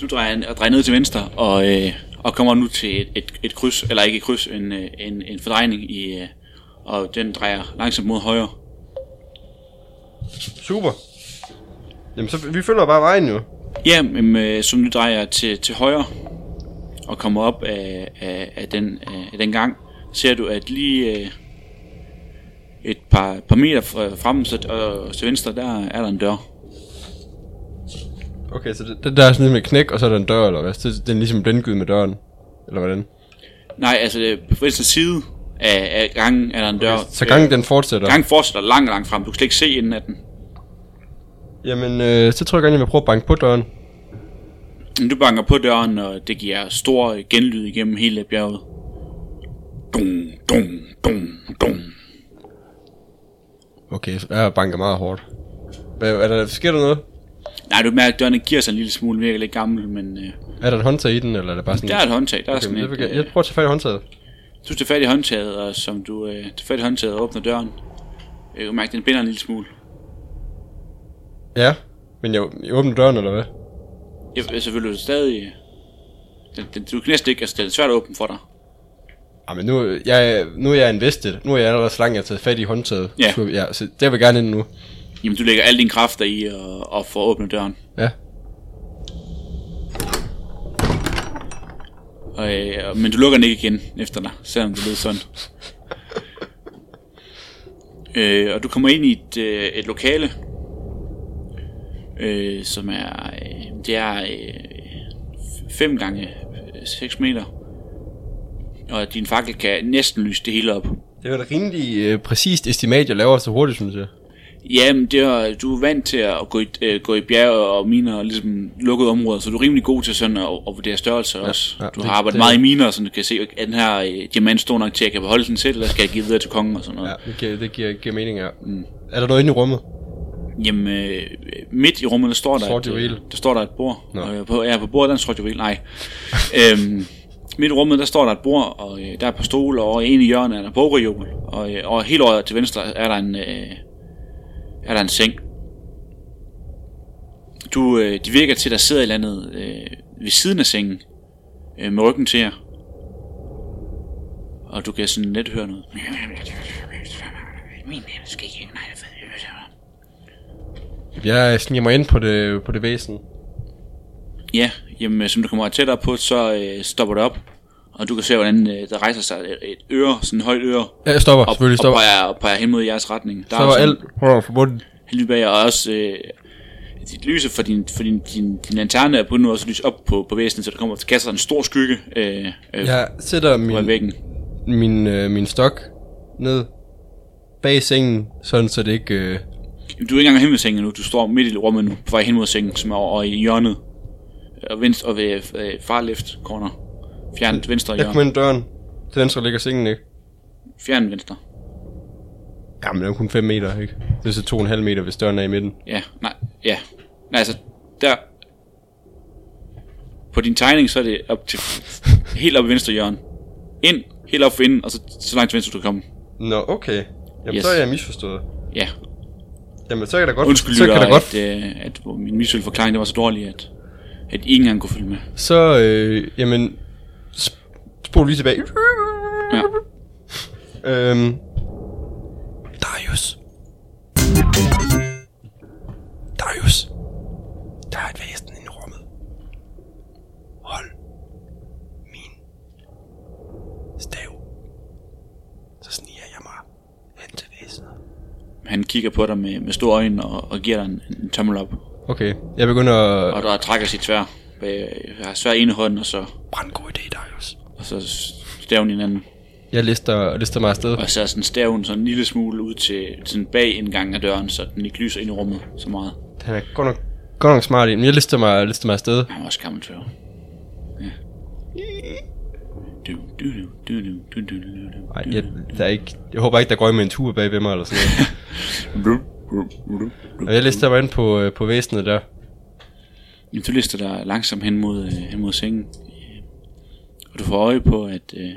du drejer, og drejer ned til venstre, og, øh, og kommer nu til et, et, et kryds, eller ikke et kryds, en, øh, en, en fordrejning, i, øh, og den drejer langsomt mod højre.
Super. Jamen, så vi følger bare vejen jo.
Ja, men, øh, som nu drejer til, til højre og kommer op af, af, af, den, øh, af, af den gang, ser du, at lige øh, et par, par meter fra- frem så, og til venstre, der er der en dør.
Okay, så det, det der er sådan lidt med knæk, og så er der en dør, eller hvad? Så det- den er ligesom blindgyde med døren. Eller hvordan?
Nej, altså øh, på venstre side af, af gangen er der en dør.
Så gangen den fortsætter.
Øh, gangen fortsætter langt, langt frem. Du kan slet ikke se inden af den.
Jamen, øh, så tror jeg gerne, jeg vil prøve at banke på døren.
Du banker på døren, og det giver stor genlyd igennem hele bjerget. Dum, dum, dum, dum.
Okay, så jeg banker meget hårdt. Hvad, er der, sker der noget?
Nej, du mærker, at dørene giver sig en lille smule, virker lidt gammel, men øh,
Er der et håndtag i den, eller er det bare sådan...
der er et håndtag. Der er
okay,
sådan
men det vil
et,
jeg,
øh,
jeg prøver at tage fat i håndtaget.
du tager fat i håndtaget, og som du øh, tager fat i håndtaget og åbner døren, øh, du mærker, at den binder en lille smule.
Ja, men jeg, jeg åbner døren, eller hvad?
Jeg, så vil du stadig... Den, den, du kan næsten ikke, altså den er svært at åbne for dig.
Ah, men nu, jeg, nu er jeg invested. Nu er jeg allerede så langt, jeg har taget fat i håndtaget.
Ja.
Så, ja, så der vil jeg gerne ind nu.
Jamen, du lægger alle dine kræfter i og, og får åbnet døren.
Ja.
Og, øh, og- men du lukker den ikke igen efter dig, selvom det lød sådan. øh, og du kommer ind i et, øh, et lokale, øh, som er, øh, det er øh, 5 gange 6 meter. Og din fakkel kan næsten lyse det hele op.
Det er et rimelig øh, præcist estimat, jeg laver så hurtigt, synes jeg.
Jamen, det er, du er vant til at gå i, øh, gå i bjerge og miner og ligesom lukkede områder, så du er rimelig god til sådan at, at vurdere størrelser ja, også.
ja,
Ja, du
det-
har arbejdet
det-
det, meget i miner, så du kan se, er den her øh, diamant stor nok til, at jeg kan beholde den selv, eller skal jeg give videre til kongen og sådan noget.
Ja, det giver, det giver, giver mening, ja. Mm. Er der noget inde i rummet?
Ja. Jamen, øh, midt i rummet, der står der,
Sort
et, øh,
juvel.
der, står der et bord.
Nå.
Og, øh, på, ja, på bordet der er en sort juvel, nej. øhm, midt i rummet, der står der et bord, og øh, der er et par stole, og en i hjørnet er der bogreol, og, øh, og helt over til venstre er der en, øh, er der en seng. Du, øh, de virker til, at der sidder et eller andet øh, ved siden af sengen, øh, med ryggen til jer. Og du kan sådan let høre noget. Min skal ikke, nej,
Jeg sniger mig ind på det, på det væsen.
Ja, jamen, øh, som du kommer tættere på, så øh, stopper det op. Og du kan se, hvordan øh, der rejser sig et, et øre, sådan et højt øre,
Ja, jeg stopper,
op,
selvfølgelig
og
stopper.
peger, og peger hen mod jeres retning. Der
stopper
sådan-
alt. Prøv at forbundet.
Han lyser bag jer, og også øh, dit lyse for din, for din, din, din lanterne er på nu også lys op på, på væsenet, så der kommer kaster en stor skygge øh, øh, ja,
Jeg sætter
på
min,
væggen.
min, øh, min stok ned bag sengen, sådan så det ikke... Øh,
Du er ikke engang hen ved sengen nu, du står midt i rummet nu, på vej hen mod sengen, som er over i hjørnet. Og venstre og ved øh, far left corner. Fjern venstre
jeg kommer
hjørne.
ind ad døren. Til venstre ligger sengen, ikke?
Fjern venstre.
Jamen, den er kun 5 meter, ikke? Det er så 2,5 meter, hvis døren er i midten.
Ja, nej, ja. Nej, altså, der... På din tegning, så er det op til... helt op i venstre hjørne. Ind, helt op for inden, og så, så langt til venstre du kan komme.
Nå, okay. Jamen,
Yes.
så er jeg misforstået.
Ja,
Jamen, så kan der godt...
Undskyld,
så
lytter,
kan der godt...
at, øh, at hvor min visuelle forklaring det var så dårlig, at, at I ikke engang kunne følge med.
Så, øh, jamen... sp- Spol lige tilbage.
Ja.
Øhm... Darius. Darius. Der er et væsen inde i rummet. Hold min stav. Så sniger jeg mig hen til væsenet.
Han kigger på dig med, med store øjne og, og giver dig en, en tommel op.
Okay, jeg begynder at...
Og der trækker sit tvær. Jeg har svær i ene hånd, og så,
Brand god idé, Darius.
og så staven i den anden.
Jeg lister, lister mig afsted.
Og så er sådan staven sådan en lille smule ud til sådan bag indgangen af døren, så den ikke lyser ind i rummet så meget.
Han er godt nok, godt nok smart i, men jeg lister mig, lister mig afsted.
Han var også gammel tør. Ja. Du, du, du, du, du, du, du, du, du.
Nej, jeg, der er ikke, jeg håber ikke, der går en med en tur bag ved mig eller sådan noget. Og jeg lister mig ind på, øh, på væsenet der.
Jamen, du lister dig langsomt hen mod, øh, hen mod sengen. Øh, Og du får øje på, at øh,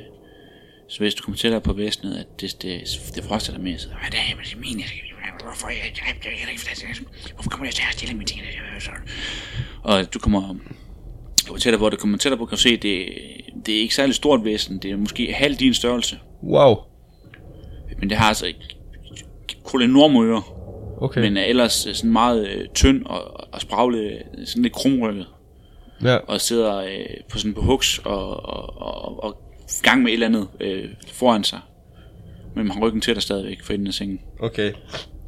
så hvis du kommer tættere på væsenet, at det, det, det froster dig mere. Så, Hvad det er, men det er min, jeg skal Hvorfor jeg, jeg, jeg, jeg, jeg, jeg, jeg, hvorfor kommer jeg til at stille mine ting? Og du kommer, kommer tættere på, og du kommer tættere på, kan du se, det, det er ikke særlig stort væsen. Det er måske halv din størrelse.
Wow.
Men det har altså ikke kun enorme ører.
Okay.
Men er ellers øh, sådan meget øh, tynd og, og spraglet, øh, sådan lidt krumrykket
ja.
og sidder øh, på sådan på huks og, og, og, og i gang med et eller andet øh, foran sig. Men man har ryggen til dig stadigvæk for enden af sengen.
Okay.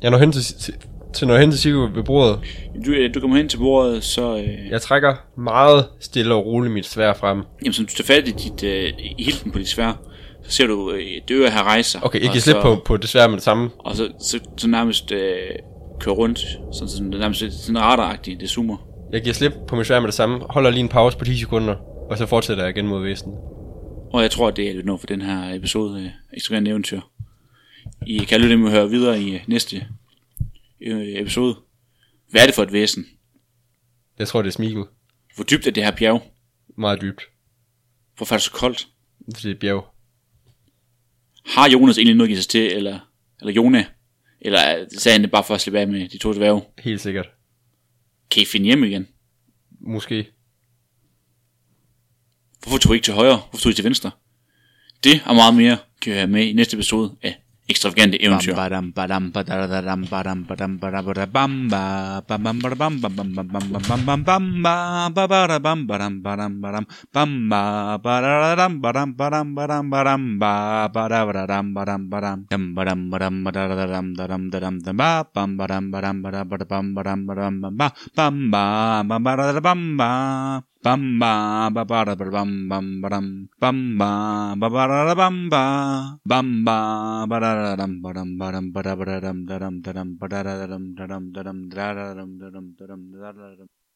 Jeg når hen til, til, til, når hen til Sigurd ved bordet.
Du, øh, du kommer hen til bordet, så øh, ja.
Jeg trækker meget stille og roligt mit svær frem.
jamen, som du tager fat i, dit, øh, i hilden på dit svær, så ser du øh, det øre her rejser.
Okay, jeg giver slip på, på det svær med det samme.
Og så, så, så nærmest øh, kører rundt, sådan, sådan, det er nærmest sådan radaragtigt, det zoomer.
Jeg giver slip på min svær med det samme, holder lige en pause på 10 sekunder, og så fortsætter jeg igen mod væsenet.
Og jeg tror, det er noget for den her episode af Ekstreme Eventyr. I kan lytte dem høre videre i øh, næste øh, episode. Hvad er det for et væsen?
Jeg tror, det er smigel.
Hvor dybt er det her bjerg?
Meget dybt.
Hvorfor er det så koldt?
Fordi det er bjerg.
Har Jonas egentlig noget at give sig til, eller, eller Jona? Eller er- sagde han det bare for at slippe af med de to dværge?
Helt sikkert.
Kan I finde hjem igen?
Måske.
Hvorfor tog I ikke til højre? Hvorfor tog I til venstre? Det og meget mere kan I høre med i næste episode af Ekstravagante Eventyr.
Bam, badam, badadadam, badam, badam, badabadabam, ba, bam, bam, badabam, bam, bam, bam, bam, bam, bam, bam, bam, ba, ba, badabam, badam, badam, badam, bam, ba, badadadam, badam, badam, badam, badam, ba, badabadadam, badam, badam, dam, badam, badam, badadadam, dadam, dadam, dam, ba, bam, badam, badam, badabadabam, badam, badam, bam, ba, bam, ba, bam, badadadabam, ba. Bam ba ba ba da ba bam bam ba dam bam ba ba ba da da bam ba bam ba ba da da dam ba dam ba dam ba da ba da dam da dam da dam ba da da dam da dam da dam da da dam da dam da dam da da dam